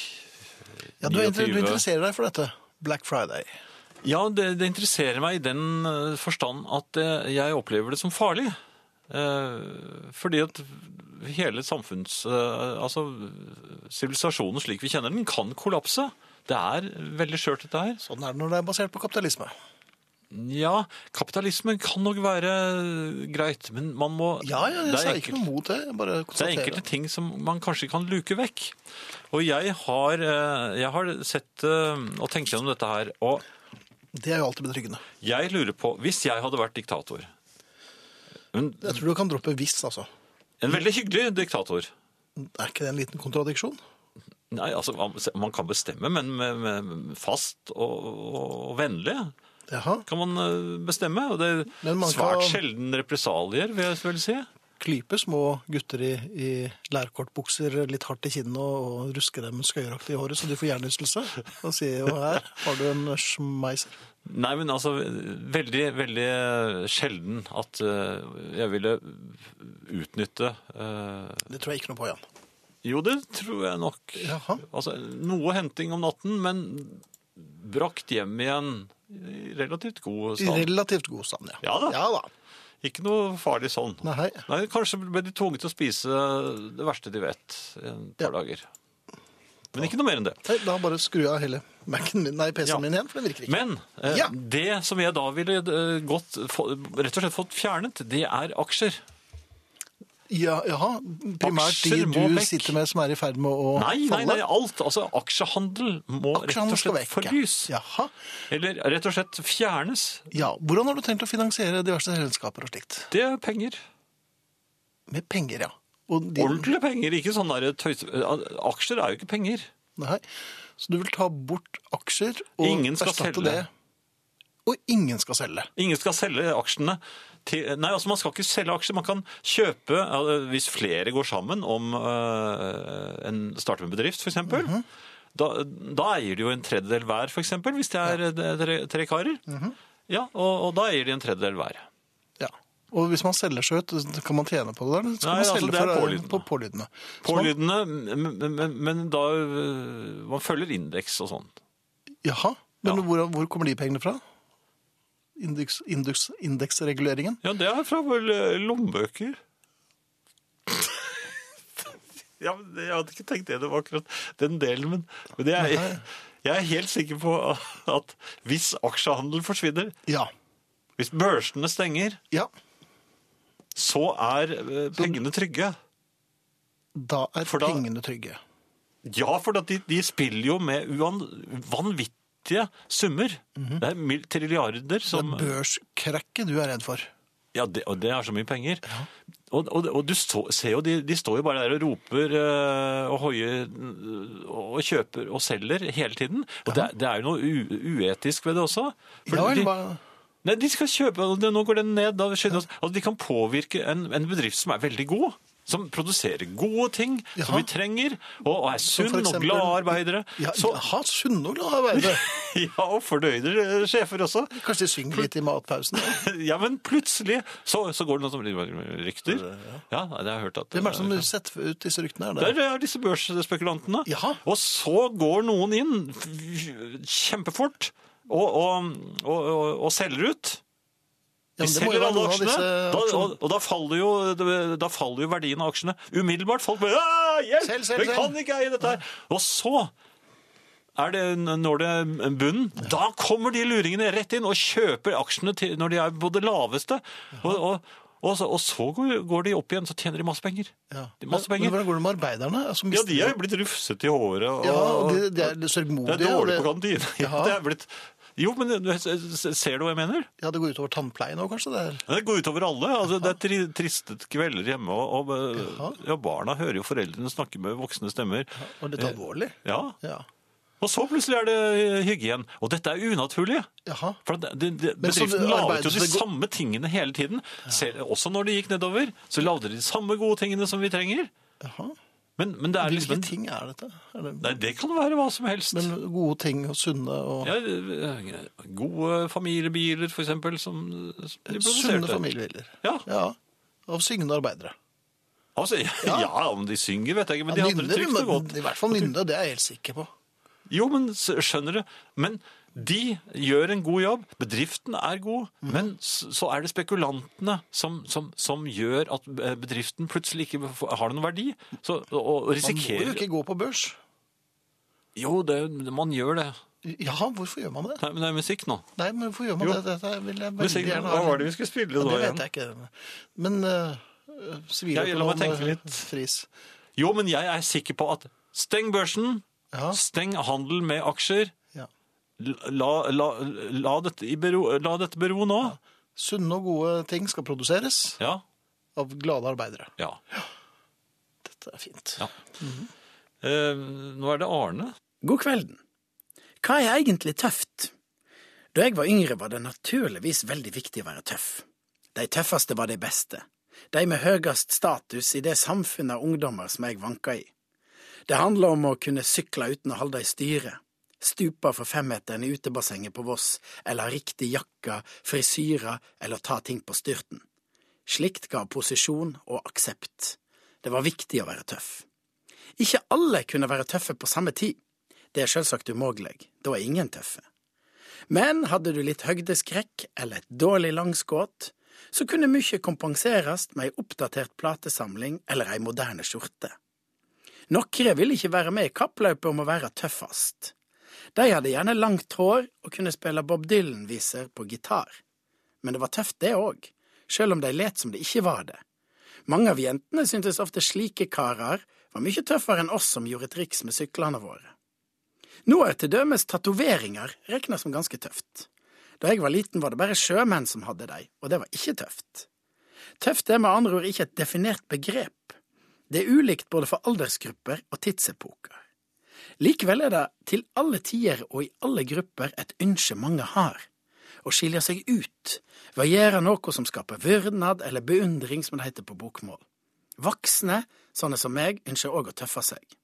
Speaker 1: ja du, er inter-
Speaker 2: 29.
Speaker 1: du interesserer deg for dette. Black Friday.
Speaker 2: Ja, det, det interesserer meg i den øh, forstand at øh, jeg opplever det som farlig. Eh, fordi at hele samfunns... øh, altså, sivilisasjonen slik vi kjenner den, kan kollapse. Det er veldig skjørt dette her.
Speaker 1: Sånn er det når det er basert på kapitalisme.
Speaker 2: Ja, kapitalisme kan nok være eh, greit, men man må
Speaker 1: Ja, ja, jeg
Speaker 2: det,
Speaker 1: sa
Speaker 2: er
Speaker 1: ikke
Speaker 2: enkelt,
Speaker 1: noe mot det. jeg Bare
Speaker 2: det er enkelte
Speaker 1: konstaterer.
Speaker 2: ting som man kanskje kan luke vekk. Og jeg har, eh, jeg har sett eh, og tenkt gjennom dette her, og
Speaker 1: Det er jo alltid betryggende.
Speaker 2: jeg lurer på Hvis jeg hadde vært diktator en,
Speaker 1: Jeg tror du kan droppe hvis, altså.
Speaker 2: en veldig hyggelig diktator.
Speaker 1: Er ikke det en liten kontradiksjon?
Speaker 2: Nei, altså, Man kan bestemme, men med, med fast og, og, og vennlig
Speaker 1: Jaha.
Speaker 2: kan man eh, bestemme. Og det
Speaker 1: Men
Speaker 2: er
Speaker 1: man
Speaker 2: svært
Speaker 1: kan-
Speaker 2: sjelden represalier, vil jeg vel si.
Speaker 1: klype små gutter i, i lærkortbukser litt hardt i kinnet og, og ruske dem skøyeraktig i håret, så de får hjernerystelse. Og sier jo her har du en schmeiser.
Speaker 2: Nei, men altså, veldig, veldig sjelden at eh, jeg ville utnytte eh,
Speaker 1: Det tror jeg ikke noe på igjen.
Speaker 2: Jo, det tror jeg nok.
Speaker 1: Jaha.
Speaker 2: Altså, noe henting om natten, men brakt hjem igjen i relativt god
Speaker 1: I
Speaker 2: stand.
Speaker 1: relativt god stand, ja.
Speaker 2: Ja da.
Speaker 1: Ja da.
Speaker 2: Ikke noe farlig sånn.
Speaker 1: Nei.
Speaker 2: Nei, kanskje ble de tvunget til å spise det verste de vet i et
Speaker 1: Ja.
Speaker 2: par dager. Men ikke noe mer enn det.
Speaker 1: Nei, da bare skrur jeg av hele Mac-en min, nei, PC-en
Speaker 2: Ja.
Speaker 1: min igjen, for den virker ikke.
Speaker 2: Men eh,
Speaker 1: Ja.
Speaker 2: det som jeg da ville eh, gått, få, rett og slett fått fjernet, det er aksjer.
Speaker 1: Ja, jaha, primært de
Speaker 2: Aksjer må
Speaker 1: du
Speaker 2: vekk.
Speaker 1: sitter med som er i ferd med å
Speaker 2: Nei, nei,
Speaker 1: falle.
Speaker 2: nei, alt. Altså, aksjehandel må rett
Speaker 1: Aksjene
Speaker 2: og
Speaker 1: skal
Speaker 2: slett
Speaker 1: vekk.
Speaker 2: forbys.
Speaker 1: Jaha.
Speaker 2: Eller rett og slett fjernes.
Speaker 1: Ja, hvordan har du tenkt å finansiere diverse selskaper og slikt?
Speaker 2: Det er penger.
Speaker 1: Med penger, ja. Og de-
Speaker 2: Ordentlige penger, ikke sånn der tøys... Aksjer er jo ikke penger.
Speaker 1: Nei. Så du vil ta bort aksjer og
Speaker 2: Ingen skal
Speaker 1: erstatte
Speaker 2: selge.
Speaker 1: det? og ingen skal selge.
Speaker 2: Ingen skal selge aksjene. Til, nei, altså Man skal ikke selge aksjer. Man kan kjøpe eh, Hvis flere går sammen om eh, en starter med bedrift, f.eks. eksempel, da, da eier de jo en tredjedel hver, f.eks. Hvis det er eh, tre, tre karer. Ja, og, og da eier de en tredjedel hver.
Speaker 1: Ja. Og hvis man selger seg ut, kan man tjene på det der? eller Skal
Speaker 2: Nei,
Speaker 1: man
Speaker 2: altså,
Speaker 1: selge
Speaker 2: det er
Speaker 1: for-
Speaker 2: pålydende.
Speaker 1: på pålydende. Så man-
Speaker 2: Pålydende, men, men, men da eh, Man følger indeks og sånn. sånt.
Speaker 1: Jaha, men
Speaker 2: Ja.
Speaker 1: hvor, hvor kommer de pengene fra? Indeks, indeks, indeksreguleringen?
Speaker 2: Ja, det er fra vel eh, lommebøker. [LAUGHS] ja, men det- Jeg hadde ikke tenkt gjennom akkurat den delen, men, men det er, jeg, er helt sikker på [LAUGHS] at hvis aksjehandel forsvinner,
Speaker 1: Ja.
Speaker 2: hvis børsene stenger,
Speaker 1: ja.
Speaker 2: så er eh, pengene trygge.
Speaker 1: Da er
Speaker 2: For da-
Speaker 1: pengene trygge.
Speaker 2: Ja, for at de, de spiller jo med uan, vanvittige summer. Det er mil- trilliarder som
Speaker 1: Børskrekket du er redd for.
Speaker 2: Ja, det, og det er så mye penger. Og, og, og du så, ser jo, de, de står jo bare der og roper eh, og hoier eh, og kjøper og selger hele tiden. Og det, er- det er jo noe u, uetisk ved det også. For
Speaker 1: Ja, vel,
Speaker 2: de,
Speaker 1: hva-
Speaker 2: nei, de skal kjøpe, og det, nå går den ned. Da, skynder vi oss. altså, de kan påvirke en, en bedrift som er veldig god. Som produserer gode ting som
Speaker 1: Jaha.
Speaker 2: vi trenger, og, og er sunn
Speaker 1: for
Speaker 2: og
Speaker 1: eksempel-
Speaker 2: glade arbeidere.
Speaker 1: ja,
Speaker 2: så,
Speaker 1: Jaha, sunne og glade arbeidere.
Speaker 2: [LAUGHS] ja, og fornøyde eh, sjefer også.
Speaker 1: Kanskje de synger litt i matpausen.
Speaker 2: [LAUGHS] Ja, men plutselig så, så går det noe som rykter. Ja, det har jeg hørt at
Speaker 1: Hvem er det som setter ut disse ryktene? Er det?
Speaker 2: Der eh, er disse børsspekulantene.
Speaker 1: Jaha.
Speaker 2: Og så går noen inn f- kjempefort og, og, og, og, og selger ut.
Speaker 1: Ja,
Speaker 2: De
Speaker 1: men det må jo
Speaker 2: selger
Speaker 1: være
Speaker 2: alle
Speaker 1: noen av
Speaker 2: aksjene,
Speaker 1: disse
Speaker 2: da, og,
Speaker 1: aksjonene.
Speaker 2: og da, faller jo, da faller jo verdien av aksjene umiddelbart. Folk bare «Ah, 'Hjelp!
Speaker 1: Selg, selg,
Speaker 2: vi
Speaker 1: selg!»
Speaker 2: kan ikke eie dette her!' Og så er det, når det er bunnen, da kommer de luringene rett inn og kjøper aksjene til, når de er på det laveste. Og, og, og, så, og så går- går de opp igjen, så tjener de masse penger.
Speaker 1: Ja.
Speaker 2: De-
Speaker 1: Men,
Speaker 2: Masse
Speaker 1: men
Speaker 2: penger.
Speaker 1: hvordan går det med arbeiderne? Altså,
Speaker 2: Ja,
Speaker 1: mister-
Speaker 2: de er jo blitt rufset i håret. Og,
Speaker 1: Ja, og de, de er sørgmodige.
Speaker 2: det er dårlig
Speaker 1: og
Speaker 2: på kantinen. [LAUGHS] Ja,
Speaker 1: Jaha.
Speaker 2: det er blitt... Jo, men du- ser du hva jeg mener?
Speaker 1: Ja, det går utover tannpleien òg, kanskje? det er.
Speaker 2: Men Det går utover alle. Altså, det er tri triste kvelder hjemme, og, og ja, barna hører jo foreldrene snakke med voksne stemmer.
Speaker 1: Og litt alvorlig.
Speaker 2: Eh, Ja,
Speaker 1: Ja.
Speaker 2: Og så plutselig er det eh, hygge igjen. Og dette er unaturlig.
Speaker 1: Jaha.
Speaker 2: For det, det, det,
Speaker 1: Men så
Speaker 2: Bedriften laget jo
Speaker 1: arbeidet
Speaker 2: de
Speaker 1: det go-
Speaker 2: samme tingene hele tiden. Selv, også når de gikk nedover, så lagde de de samme gode tingene som vi trenger.
Speaker 1: Jaha.
Speaker 2: Men, men det er
Speaker 1: Hvilke
Speaker 2: liksom en,
Speaker 1: ting er dette? Er det,
Speaker 2: Nei, det kan være hva som helst.
Speaker 1: men gode ting og sunne og
Speaker 2: ja, gode familiebiler, for eksempel, som, som de
Speaker 1: sunne
Speaker 2: produserte.
Speaker 1: familiebiler.
Speaker 2: Ja.
Speaker 1: Av syngende arbeidere.
Speaker 2: Altså, [LAUGHS] ja, ja, om de synger, vet jeg ikke, men de
Speaker 1: Ja,
Speaker 2: hadde det
Speaker 1: nynner,
Speaker 2: trygt og
Speaker 1: men
Speaker 2: godt.
Speaker 1: I hvert fall nynne, det er jeg helt sikker på.
Speaker 2: Jo, men s- skjønner du. Men de gjør en god jobb. Bedriften er god.
Speaker 1: Mhm.
Speaker 2: Men s- så er det spekulantene som, som, som gjør at eh, bedriften plutselig ikke får- har noen verdi. Så, og og
Speaker 1: Man må jo
Speaker 2: risikerer
Speaker 1: ikke gå på børs.
Speaker 2: Jo, det, man gjør det.
Speaker 1: Ja, hvorfor gjør man det?
Speaker 2: Nei, men det er musikk nå.
Speaker 1: Nei, men hvorfor gjør man
Speaker 2: Jo.
Speaker 1: det? Dette vil jeg veldig
Speaker 2: Musikk,
Speaker 1: gjerne
Speaker 2: hva var det vi skulle spille
Speaker 1: Ja,
Speaker 2: nå
Speaker 1: det vet
Speaker 2: igjen?
Speaker 1: jeg ikke. Men eh, uh,
Speaker 2: Ja, la meg tenke litt.
Speaker 1: Fris.
Speaker 2: Jo, men jeg er sikker på at steng børsen,
Speaker 1: Ja.
Speaker 2: steng handel med aksjer.
Speaker 1: Ja.
Speaker 2: La, la, la, dette, i bero, la dette bero nå.
Speaker 1: Sunne og gode ting skal produseres
Speaker 2: Ja.
Speaker 1: av glade arbeidere.
Speaker 2: ja.
Speaker 1: Dette er fint.
Speaker 2: Ja. Eh, nå er det Arne.
Speaker 4: God kvelden. Hva er egentlig tøft? Da jeg var yngre var det naturligvis veldig viktig å være tøff. De tøffeste var de beste. De med høyest status i det samfunnet av ungdommer som jeg vanka i. Det handla om å kunne sykle uten å holde i styret, stupe for femmeteren i utebassenget på Voss, eller ha riktig jakke, frisyre eller ta ting på styrten. Slikt ga posisjon og aksept. Det var viktig å være tøff. Ikke alle kunne være tøffe på samme tid. Det er selvsagt umulig, da er ingen tøffe. Men hadde du litt høgdeskrekk eller et dårlig langskudd, så kunne mye kompenseres med ei oppdatert platesamling eller ei moderne skjorte. Noen ville ikke være med i kappløpet om å være tøffest. De hadde gjerne langt hår og kunne spille Bob Dylan-viser på gitar. Men det var tøft, det òg, sjøl om de let som det ikke var det. Mange av jentene syntes ofte slike karer var mye tøffere enn oss som gjorde triks med syklene våre. Nå er til dømes tatoveringer regna som ganske tøft. Da jeg var liten var det bare sjømenn som hadde de, og det var ikke tøft. Tøft er med andre ord ikke et definert begrep. Det er ulikt både for aldersgrupper og tidsepoker. Likevel er det til alle tider og i alle grupper et ønske mange har, å å skilje seg ut ved å gjøre noe som skaper vyrnad eller beundring, som det heter på bokmål. Voksne, sånne som meg, ønsker òg å tøffe seg.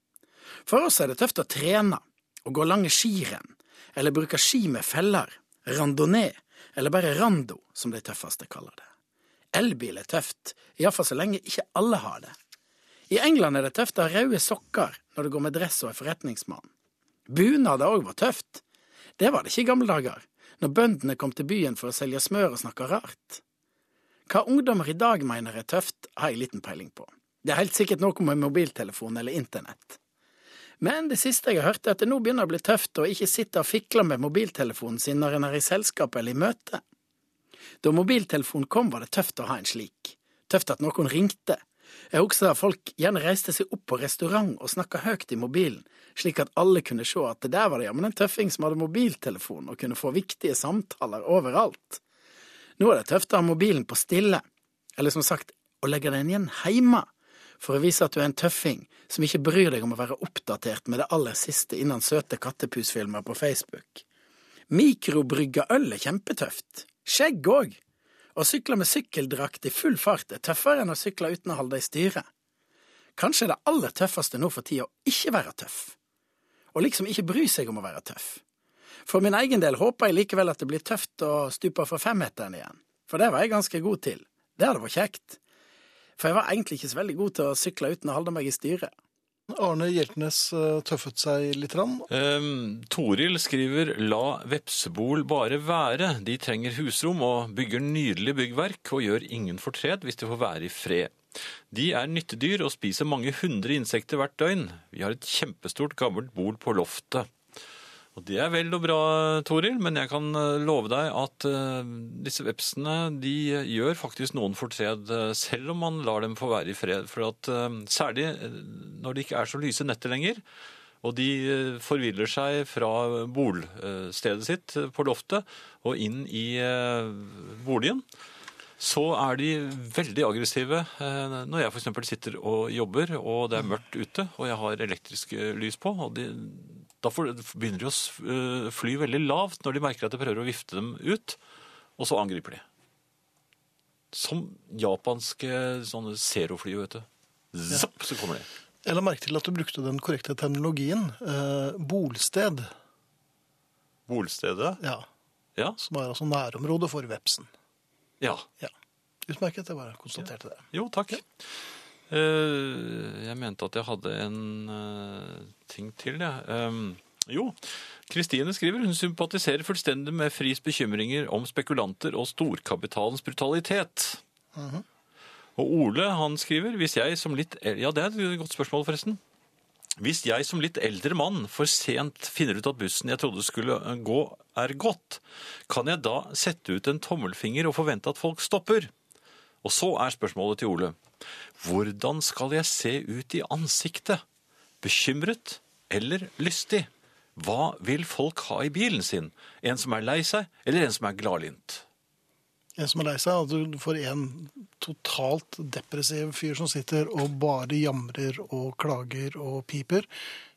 Speaker 4: For oss er det tøft å trene, å gå lange skirenn, eller bruke ski med feller, randonee, eller bare rando, som de tøffeste kaller det. Elbil er tøft, iallfall så lenge ikke alle har det. I England er det tøft å ha røde sokker når du går med dress og er forretningsmann. Bunad har òg vært tøft. Det var det ikke i gamle dager, når bøndene kom til byen for å selge smør og snakke rart. Hva ungdommer i dag mener er tøft, har jeg liten peiling på. Det er helt sikkert noe med mobiltelefon eller internett. Men det siste jeg har hørt, er at det nå begynner å bli tøft å ikke sitte og fikle med mobiltelefonen sin når en er i selskap eller i møte. Da mobiltelefonen kom, var det tøft å ha en slik. Tøft at noen ringte. Jeg husker at folk gjerne reiste seg opp på restaurant og snakka høyt i mobilen, slik at alle kunne se at det der var det jammen en tøffing som hadde mobiltelefon og kunne få viktige samtaler overalt. Nå er det tøft å ha mobilen på stille, eller som sagt, å legge den igjen heime, for å vise at du er en tøffing som ikke bryr deg om å være oppdatert med det aller siste innan søte kattepusfilmer på Facebook. Mikrobrygga øl er kjempetøft. Skjegg òg. Å sykle med sykkeldrakt i full fart er tøffere enn å sykle uten å holde deg i styret. Kanskje er det aller tøffeste nå for tida å ikke være tøff. Og liksom ikke bry seg om å være tøff. For min egen del håper jeg likevel at det blir tøft å stupe fra femmeteren igjen, for det var jeg ganske god til. Det hadde vært kjekt. For jeg var egentlig ikke så veldig god til å sykle uten å holde meg i styret.
Speaker 1: Arne Hjeltnes eh, tøffet seg litt. Rann.
Speaker 2: Ehm, Toril skriver 'La vepsebol bare være'. De trenger husrom og bygger nydelig byggverk og gjør ingen fortret hvis de får være i fred. De er nyttedyr og spiser mange hundre insekter hvert døgn. Vi har et kjempestort gammelt bol på loftet. Og Det er vel og bra, Toril, men jeg kan eh, love deg at eh, disse vepsene de gjør faktisk noen fortred, eh, selv om man lar dem få være i fred. For at eh, særlig eh, når det ikke er så lyse netter lenger, og de eh, forviller seg fra bolstedet sitt eh, på loftet og inn i eh, boligen, så er de veldig aggressive eh, når jeg f.eks. sitter og jobber, og det er mørkt ute, og jeg har elektrisk eh, lys på. og de, Da får, begynner de å s- eh, fly veldig lavt når de merker at jeg prøver å vifte dem ut, og så angriper de. Som japanske sånne zerofly, vet du. Zapp, så kommer de.
Speaker 1: Jeg la merke til at du brukte den korrekte terminologien. Eh, bolsted,
Speaker 2: Bolstedet?
Speaker 1: ja,
Speaker 2: Ja.
Speaker 1: som er altså nærområdet for vepsen.
Speaker 2: ja.
Speaker 1: Ja. Utmerket, jeg bare konstaterte det.
Speaker 2: Jo, takk. Eh, jeg mente at jeg hadde en eh, ting til, jeg. Ehm, jo, Kristine skriver hun sympatiserer fullstendig med Fris bekymringer om spekulanter og storkapitalens brutalitet. Og Ole han skriver hvis jeg som litt el- Ja, det er et godt spørsmål, forresten. Hvis jeg som litt eldre mann for sent finner ut at bussen jeg trodde skulle eh, gå, er gått, kan jeg da sette ut en tommelfinger og forvente at folk stopper? Og så er spørsmålet til Ole. Hvordan skal jeg se ut i ansiktet? Bekymret eller lystig? Hva vil folk ha i bilen sin? En som er lei seg, eller en som er gladlynt?
Speaker 1: En som er lei seg, at du får en totalt depressiv fyr som sitter og bare jamrer og klager og piper.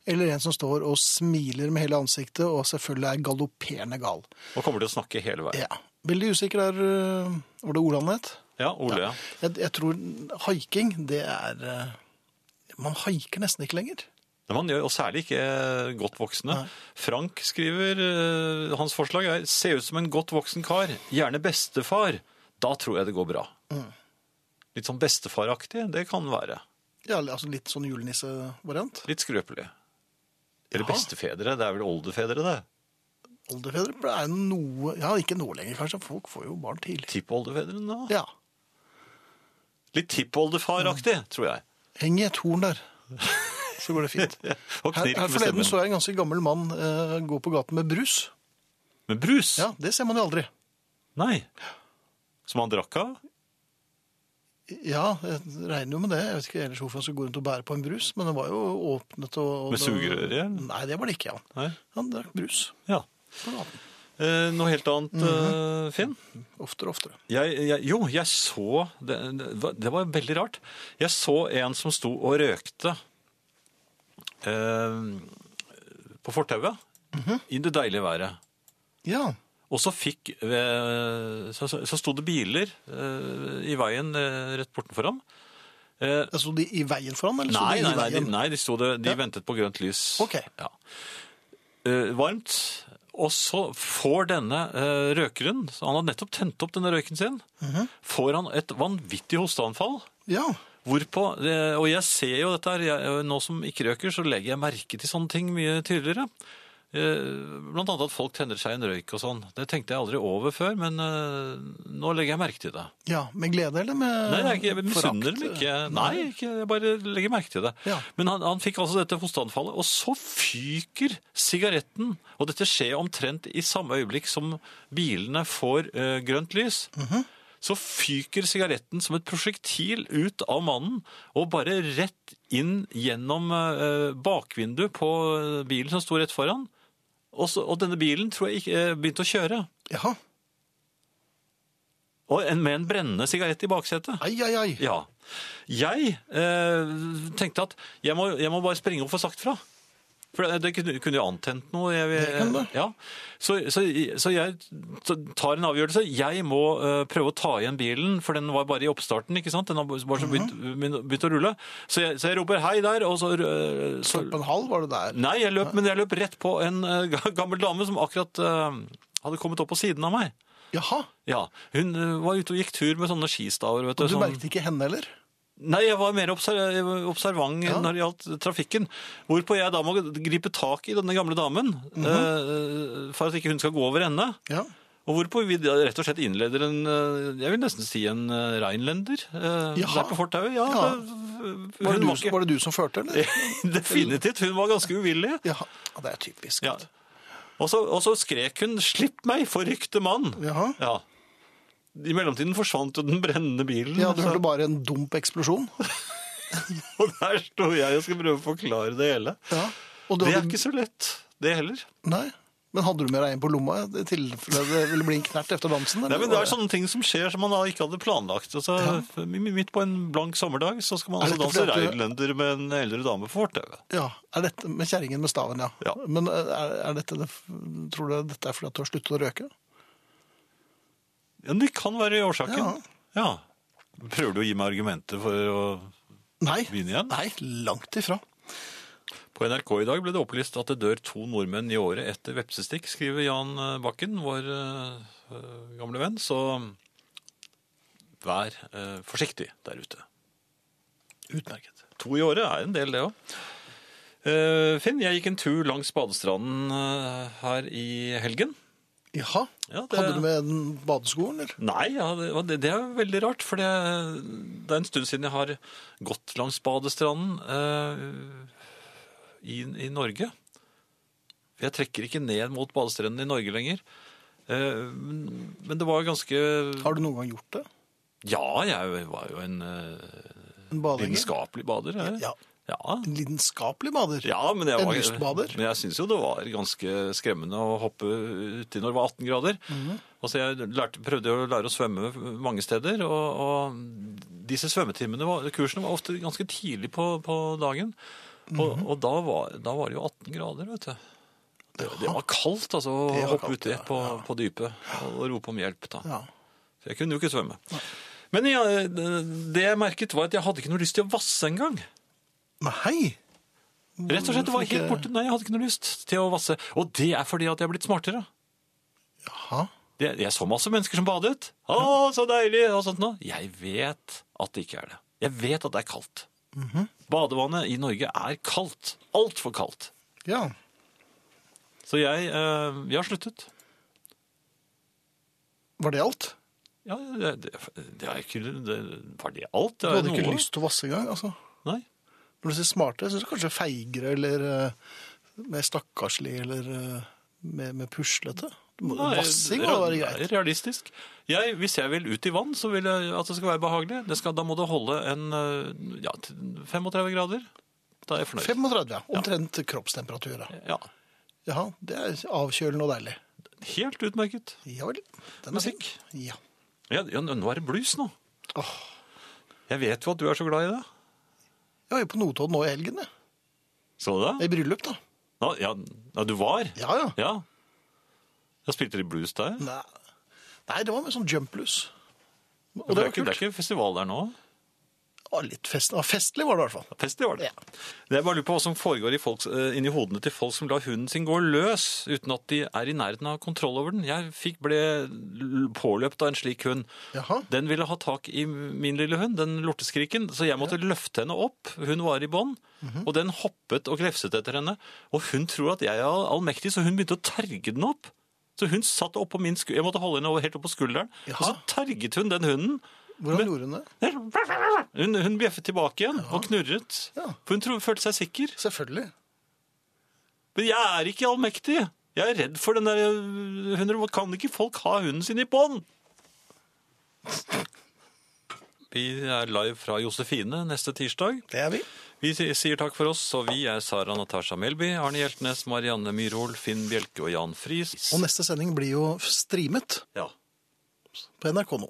Speaker 1: Eller en som står og smiler med hele ansiktet og selvfølgelig er galopperende gal.
Speaker 2: Og kommer til å snakke hele veien.
Speaker 1: Ja. Veldig usikker der øh, Var det Oland het?
Speaker 2: Ja, Ole, ja.
Speaker 1: Jeg, jeg tror haiking, det er øh, Man haiker nesten ikke lenger.
Speaker 2: Men man gjør, og særlig ikke eh, godt voksne. Frank skriver eh, Hans forslag er se ut som en godt voksen kar, gjerne bestefar. Da tror jeg det går bra. Litt sånn bestefaraktig, det kan være.
Speaker 1: Ja, altså Litt sånn julenissevariant.
Speaker 2: Litt skrøpelig. Eller
Speaker 1: Jaha.
Speaker 2: bestefedre. Det er vel oldefedre, det.
Speaker 1: Oldefedre ble- er noe Ja, ikke nå lenger, kanskje. Folk får jo barn tidlig.
Speaker 2: Tippoldefedrene, da?
Speaker 1: Ja.
Speaker 2: Litt tippoldefaraktig,
Speaker 1: Mm.
Speaker 2: tror jeg.
Speaker 1: Heng i et horn der, [LAUGHS] så går det fint.
Speaker 2: [LAUGHS] Og
Speaker 1: Her,
Speaker 2: knirk
Speaker 1: her
Speaker 2: med
Speaker 1: forleden
Speaker 2: stemmen.
Speaker 1: så jeg en ganske gammel mann eh, gå på gaten med brus.
Speaker 2: Men brus?
Speaker 1: Ja, Det ser man jo aldri.
Speaker 2: Nei. Som han drakk av?
Speaker 1: Ja, jeg regner jo med det. Jeg vet ikke ellers hvorfor han skulle gå rundt og bære på en brus, men den var jo åpnet og, og
Speaker 2: Med sugerør i, eller?
Speaker 1: Nei, det var det ikke. Han
Speaker 2: Nei.
Speaker 1: Han drakk brus
Speaker 2: Ja.
Speaker 1: på Mhm. gaten.
Speaker 2: Eh, noe helt annet, eh, Finn?
Speaker 1: Oftere og oftere.
Speaker 2: Jeg, jeg, jo, jeg så det, det, var- det var veldig rart. Jeg så en som sto og røkte
Speaker 1: Mhm.
Speaker 2: eh, på fortauet i det deilige været.
Speaker 1: Ja.
Speaker 2: Og så fikk eh, Så, så, så sto det biler eh, i veien eh, rett bortenfor ham. Eh,
Speaker 1: Sto altså, de i veien for han, eller sto
Speaker 2: nei,
Speaker 1: de
Speaker 2: nei,
Speaker 1: i
Speaker 2: nei, de,
Speaker 1: veien?
Speaker 2: nei, de, sto det, de
Speaker 1: Ja.
Speaker 2: ventet på grønt lys.
Speaker 1: Ok.
Speaker 2: Ja. Eh, varmt. Og så får denne eh, røkeren, så han har nettopp tent opp denne røyken sin,
Speaker 1: Mhm.
Speaker 2: får han et vanvittig hosteanfall.
Speaker 1: Ja,
Speaker 2: Hvorpå, eh, og jeg ser jo dette her, jeg, eh, nå som ikke røker, så legger jeg merke til sånne ting mye tydeligere. Eh, Blant annet at folk tenner seg en røyk og sånn. Det tenkte jeg aldri over før, men eh, nå legger jeg merke til det.
Speaker 1: ja, med glede eller med
Speaker 2: Nei, jeg, er ikke- jeg misunner
Speaker 1: forakt?
Speaker 2: dem ikke. Nei, ikke, jeg bare legger merke til det.
Speaker 1: Ja.
Speaker 2: Men han, han fikk altså dette hosteanfallet, og så fyker sigaretten. Og dette skjer omtrent i samme øyeblikk som bilene får eh, grønt lys. Så fyker sigaretten som et prosjektil ut av mannen, og bare rett inn gjennom eh, bakvinduet på eh, bilen som sto rett foran. Og, så, og denne bilen tror jeg ikke eh, begynte å kjøre.
Speaker 1: Jaha.
Speaker 2: Og en, med en brennende sigarett i baksetet.
Speaker 1: Ai, ai, ai.
Speaker 2: Ja. Jeg eh, tenkte at jeg må, jeg må bare springe opp for sagt fra. For det, det kunne kunne jo antent noe. Jeg,
Speaker 1: Det kan det.
Speaker 2: ja. så, så, så jeg tar en avgjørelse. Jeg må eh, prøve å ta igjen bilen, for den var bare i oppstarten. ikke sant? Den har bare så begynt,
Speaker 1: Mhm.
Speaker 2: begynt å rulle. Så jeg, så jeg roper 'hei der', og så, eh, så
Speaker 1: På en halv var det der.
Speaker 2: Nei, jeg løp, men jeg løp rett på en eh, ga- gammel dame som akkurat eh, hadde kommet opp på siden av meg.
Speaker 1: Jaha.
Speaker 2: Ja, Hun eh, var ute og gikk tur med sånne skistaver. vet du.
Speaker 1: Du
Speaker 2: sånn-
Speaker 1: merket ikke henne heller?
Speaker 2: Nei, jeg var mer obser jeg var observant når det gjaldt trafikken. Hvorpå jeg da må gripe tak i denne gamle damen
Speaker 1: Mhm.
Speaker 2: eh, for at ikke hun skal gå over ende.
Speaker 1: Ja.
Speaker 2: Og hvorpå vi da rett og slett innleder en eh, Jeg vil nesten si en eh, reinlender eh,
Speaker 1: Jaha.
Speaker 2: der på fortauet. Ja,
Speaker 1: Ja.
Speaker 2: det- Hun
Speaker 1: Var det, du,
Speaker 2: var
Speaker 1: som-
Speaker 2: ikke
Speaker 1: var det du som førte, eller?
Speaker 2: [LAUGHS] Definitivt. Hun var ganske uvillig.
Speaker 1: Jaha. Ja, det er typisk.
Speaker 2: Ja. Og så, og så skrek hun 'slipp meg, forrykte mann'.
Speaker 1: Jaha.
Speaker 2: Ja. I mellomtiden forsvant jo den brennende bilen.
Speaker 1: Ja, du
Speaker 2: så-
Speaker 1: hørte bare en dump eksplosjon.
Speaker 2: [LAUGHS] Og der sto jeg og skulle prøve å forklare det hele.
Speaker 1: Ja. Og du
Speaker 2: Det er
Speaker 1: hadde-
Speaker 2: ikke så lett, det heller.
Speaker 1: Nei. Men hadde du med deg en på lomma i tilfelle det ville bli en knert etter dansen?
Speaker 2: Nei,
Speaker 1: eller?
Speaker 2: men Det er sånn- sånne ting som skjer som man da ikke hadde planlagt. Altså, Midt på en blank sommerdag så skal man
Speaker 1: Er
Speaker 2: altså
Speaker 1: dette
Speaker 2: danse
Speaker 1: fordi at du-
Speaker 2: reinlender med en eldre dame på fortauet.
Speaker 1: Ja, er dette Med kjerringen med staven, ja.
Speaker 2: Ja.
Speaker 1: Men er, er dette det, tror du dette er fordi at du har sluttet å røke?
Speaker 2: Ja, det kan være årsaken.
Speaker 1: Ja.
Speaker 2: Ja. Prøver du å gi meg argumenter for å
Speaker 1: Nei.
Speaker 2: begynne igjen?
Speaker 1: Nei, langt ifra.
Speaker 2: På NRK i dag ble det opplyst at det dør to nordmenn i året etter vepsestikk, skriver Jan eh, Bakken, vår eh, eh, gamle venn. Så vær eh, forsiktig der ute. Utmerket. To i året er en del, det òg. Finn, jeg gikk en tur langs badestranden eh, her i helgen.
Speaker 1: Jaha.
Speaker 2: Ja, det-
Speaker 1: Hadde du med den badeskoen, eller?
Speaker 2: Nei, ja, det, og det, det er veldig rart, for det, det er en stund siden jeg har gått langs badestranden eh, i, i Norge. Jeg trekker ikke ned mot badestrendene i Norge lenger. Eh, men- men det var ganske
Speaker 1: Har du noen gang gjort det?
Speaker 2: Ja, jeg var jo en eh,
Speaker 1: En badehenger?
Speaker 2: lidenskapelig bader. jeg.
Speaker 1: Ja.
Speaker 2: ja.
Speaker 1: En lidenskapelig bader?
Speaker 2: Ja, men jeg
Speaker 1: En
Speaker 2: var,
Speaker 1: lystbader?
Speaker 2: Men jeg syns jo det var ganske skremmende å hoppe uti når det var 18 grader.
Speaker 1: Mhm.
Speaker 2: Altså jeg lærte, prøvde jo å lære å svømme mange steder, og, og disse svømmetimene, var, kursene, var ofte ganske tidlig på, på dagen. Og,
Speaker 1: Mhm.
Speaker 2: og da, var, da var det jo 18 grader, vet du. Det, det var kaldt, altså, å
Speaker 1: Det var
Speaker 2: hoppe
Speaker 1: kaldt,
Speaker 2: uti
Speaker 1: ja,
Speaker 2: på, på dypet og, og rope om hjelp. da.
Speaker 1: Ja.
Speaker 2: For jeg kunne jo ikke svømme. Men ja, det jeg merket, var at jeg hadde ikke noe lyst til å vasse engang.
Speaker 1: Nei!
Speaker 2: Rett og slett, det var helt borte. Nei, jeg hadde ikke noe lyst til å vasse. Og det er fordi at jeg er blitt smartere.
Speaker 1: Jaha.
Speaker 2: Det, jeg så masse mennesker som badet. Å, så deilig! Og sånt noe. Jeg vet at det ikke er det. Jeg vet at det er kaldt.
Speaker 1: Mhm.
Speaker 2: Badevannet i Norge er kaldt. Altfor kaldt.
Speaker 1: Ja.
Speaker 2: Så jeg, eh, jeg har sluttet.
Speaker 1: Var det alt?
Speaker 2: Ja, det, det, det er ikke det, Var det alt? Det
Speaker 1: Du
Speaker 2: er
Speaker 1: hadde ikke
Speaker 2: noe.
Speaker 1: lyst til å vasse engang? Altså.
Speaker 2: Nei.
Speaker 1: Når du sier smarte, så er det kanskje feigere eller eh, mer stakkarslig eller eh, mer, mer puslete? Du må-
Speaker 2: Nei,
Speaker 1: Vassing må
Speaker 2: det
Speaker 1: da
Speaker 2: er
Speaker 1: være greit.
Speaker 2: Realistisk. Jeg, hvis jeg vil ut i vann, så vil jeg at det skal være behagelig. Det skal, da må det holde en eh, ja, til 35 grader. Da er jeg fornøyd.
Speaker 1: 35, ja. Omtrent kroppstemperatur. Ja.
Speaker 2: Ja,
Speaker 1: Jaha, det er avkjølende og deilig.
Speaker 2: helt utmerket.
Speaker 1: Ja vel. Den er
Speaker 2: Musikk.
Speaker 1: fin. Ja.
Speaker 2: Ja, ja, nå er det blues nå.
Speaker 1: Åh.
Speaker 2: Jeg vet jo at du er så glad i det.
Speaker 1: Jeg var jo på Notodden nå i helgen, jeg.
Speaker 2: Så du det?
Speaker 1: I bryllup, da.
Speaker 2: Nå, ja, ja, du var?
Speaker 1: Ja, ja.
Speaker 2: Ja. Ja, Spilte de blues der?
Speaker 1: Nei, Nei det var med sånn jump-blues. Og
Speaker 2: Det,
Speaker 1: det
Speaker 2: er
Speaker 1: var
Speaker 2: ikke, det er
Speaker 1: kult.
Speaker 2: ikke festival der nå?
Speaker 1: Ja, litt fest, ja, festlig var det i hvert fall.
Speaker 2: Fest, det var det. Jeg bare lurer på hva som foregår i folks, eh, inni hodene til folk som lar hunden sin gå løs uten at de er i nærheten av kontroll over den. Jeg fikk ble l- påløpt av en slik hund.
Speaker 1: Jaha.
Speaker 2: Den ville ha tak i min lille hund, den lorteskriken, så jeg måtte løfte henne opp. Hun var i bånd,
Speaker 1: Mhm.
Speaker 2: og den hoppet og glefset etter henne. Og hun tror at jeg er all- allmektig, så hun begynte å terge den opp. Så hun satt opp på min skulder, jeg måtte holde henne helt opp på skulderen, og så
Speaker 1: Jaha.
Speaker 2: terget hun den hunden.
Speaker 1: Hvordan gjorde hun det?
Speaker 2: Hun, hun bjeffet tilbake igjen og knurret.
Speaker 1: Ja.
Speaker 2: For hun tro, følte seg sikker.
Speaker 1: Selvfølgelig.
Speaker 2: Men jeg er ikke allmektig. Jeg er redd for den der øh, hunden. Kan ikke folk ha hunden sin i bånd? Vi er live fra Josefine neste tirsdag.
Speaker 1: Det er vi.
Speaker 2: Vi si- sier takk for oss, og vi er Sara Natasha Melby, Arne Hjeltnes, Marianne Myrhol, Finn Bjelke og Jan Friis.
Speaker 1: Og neste sending blir jo streamet
Speaker 2: Ja.
Speaker 1: på NRK nå.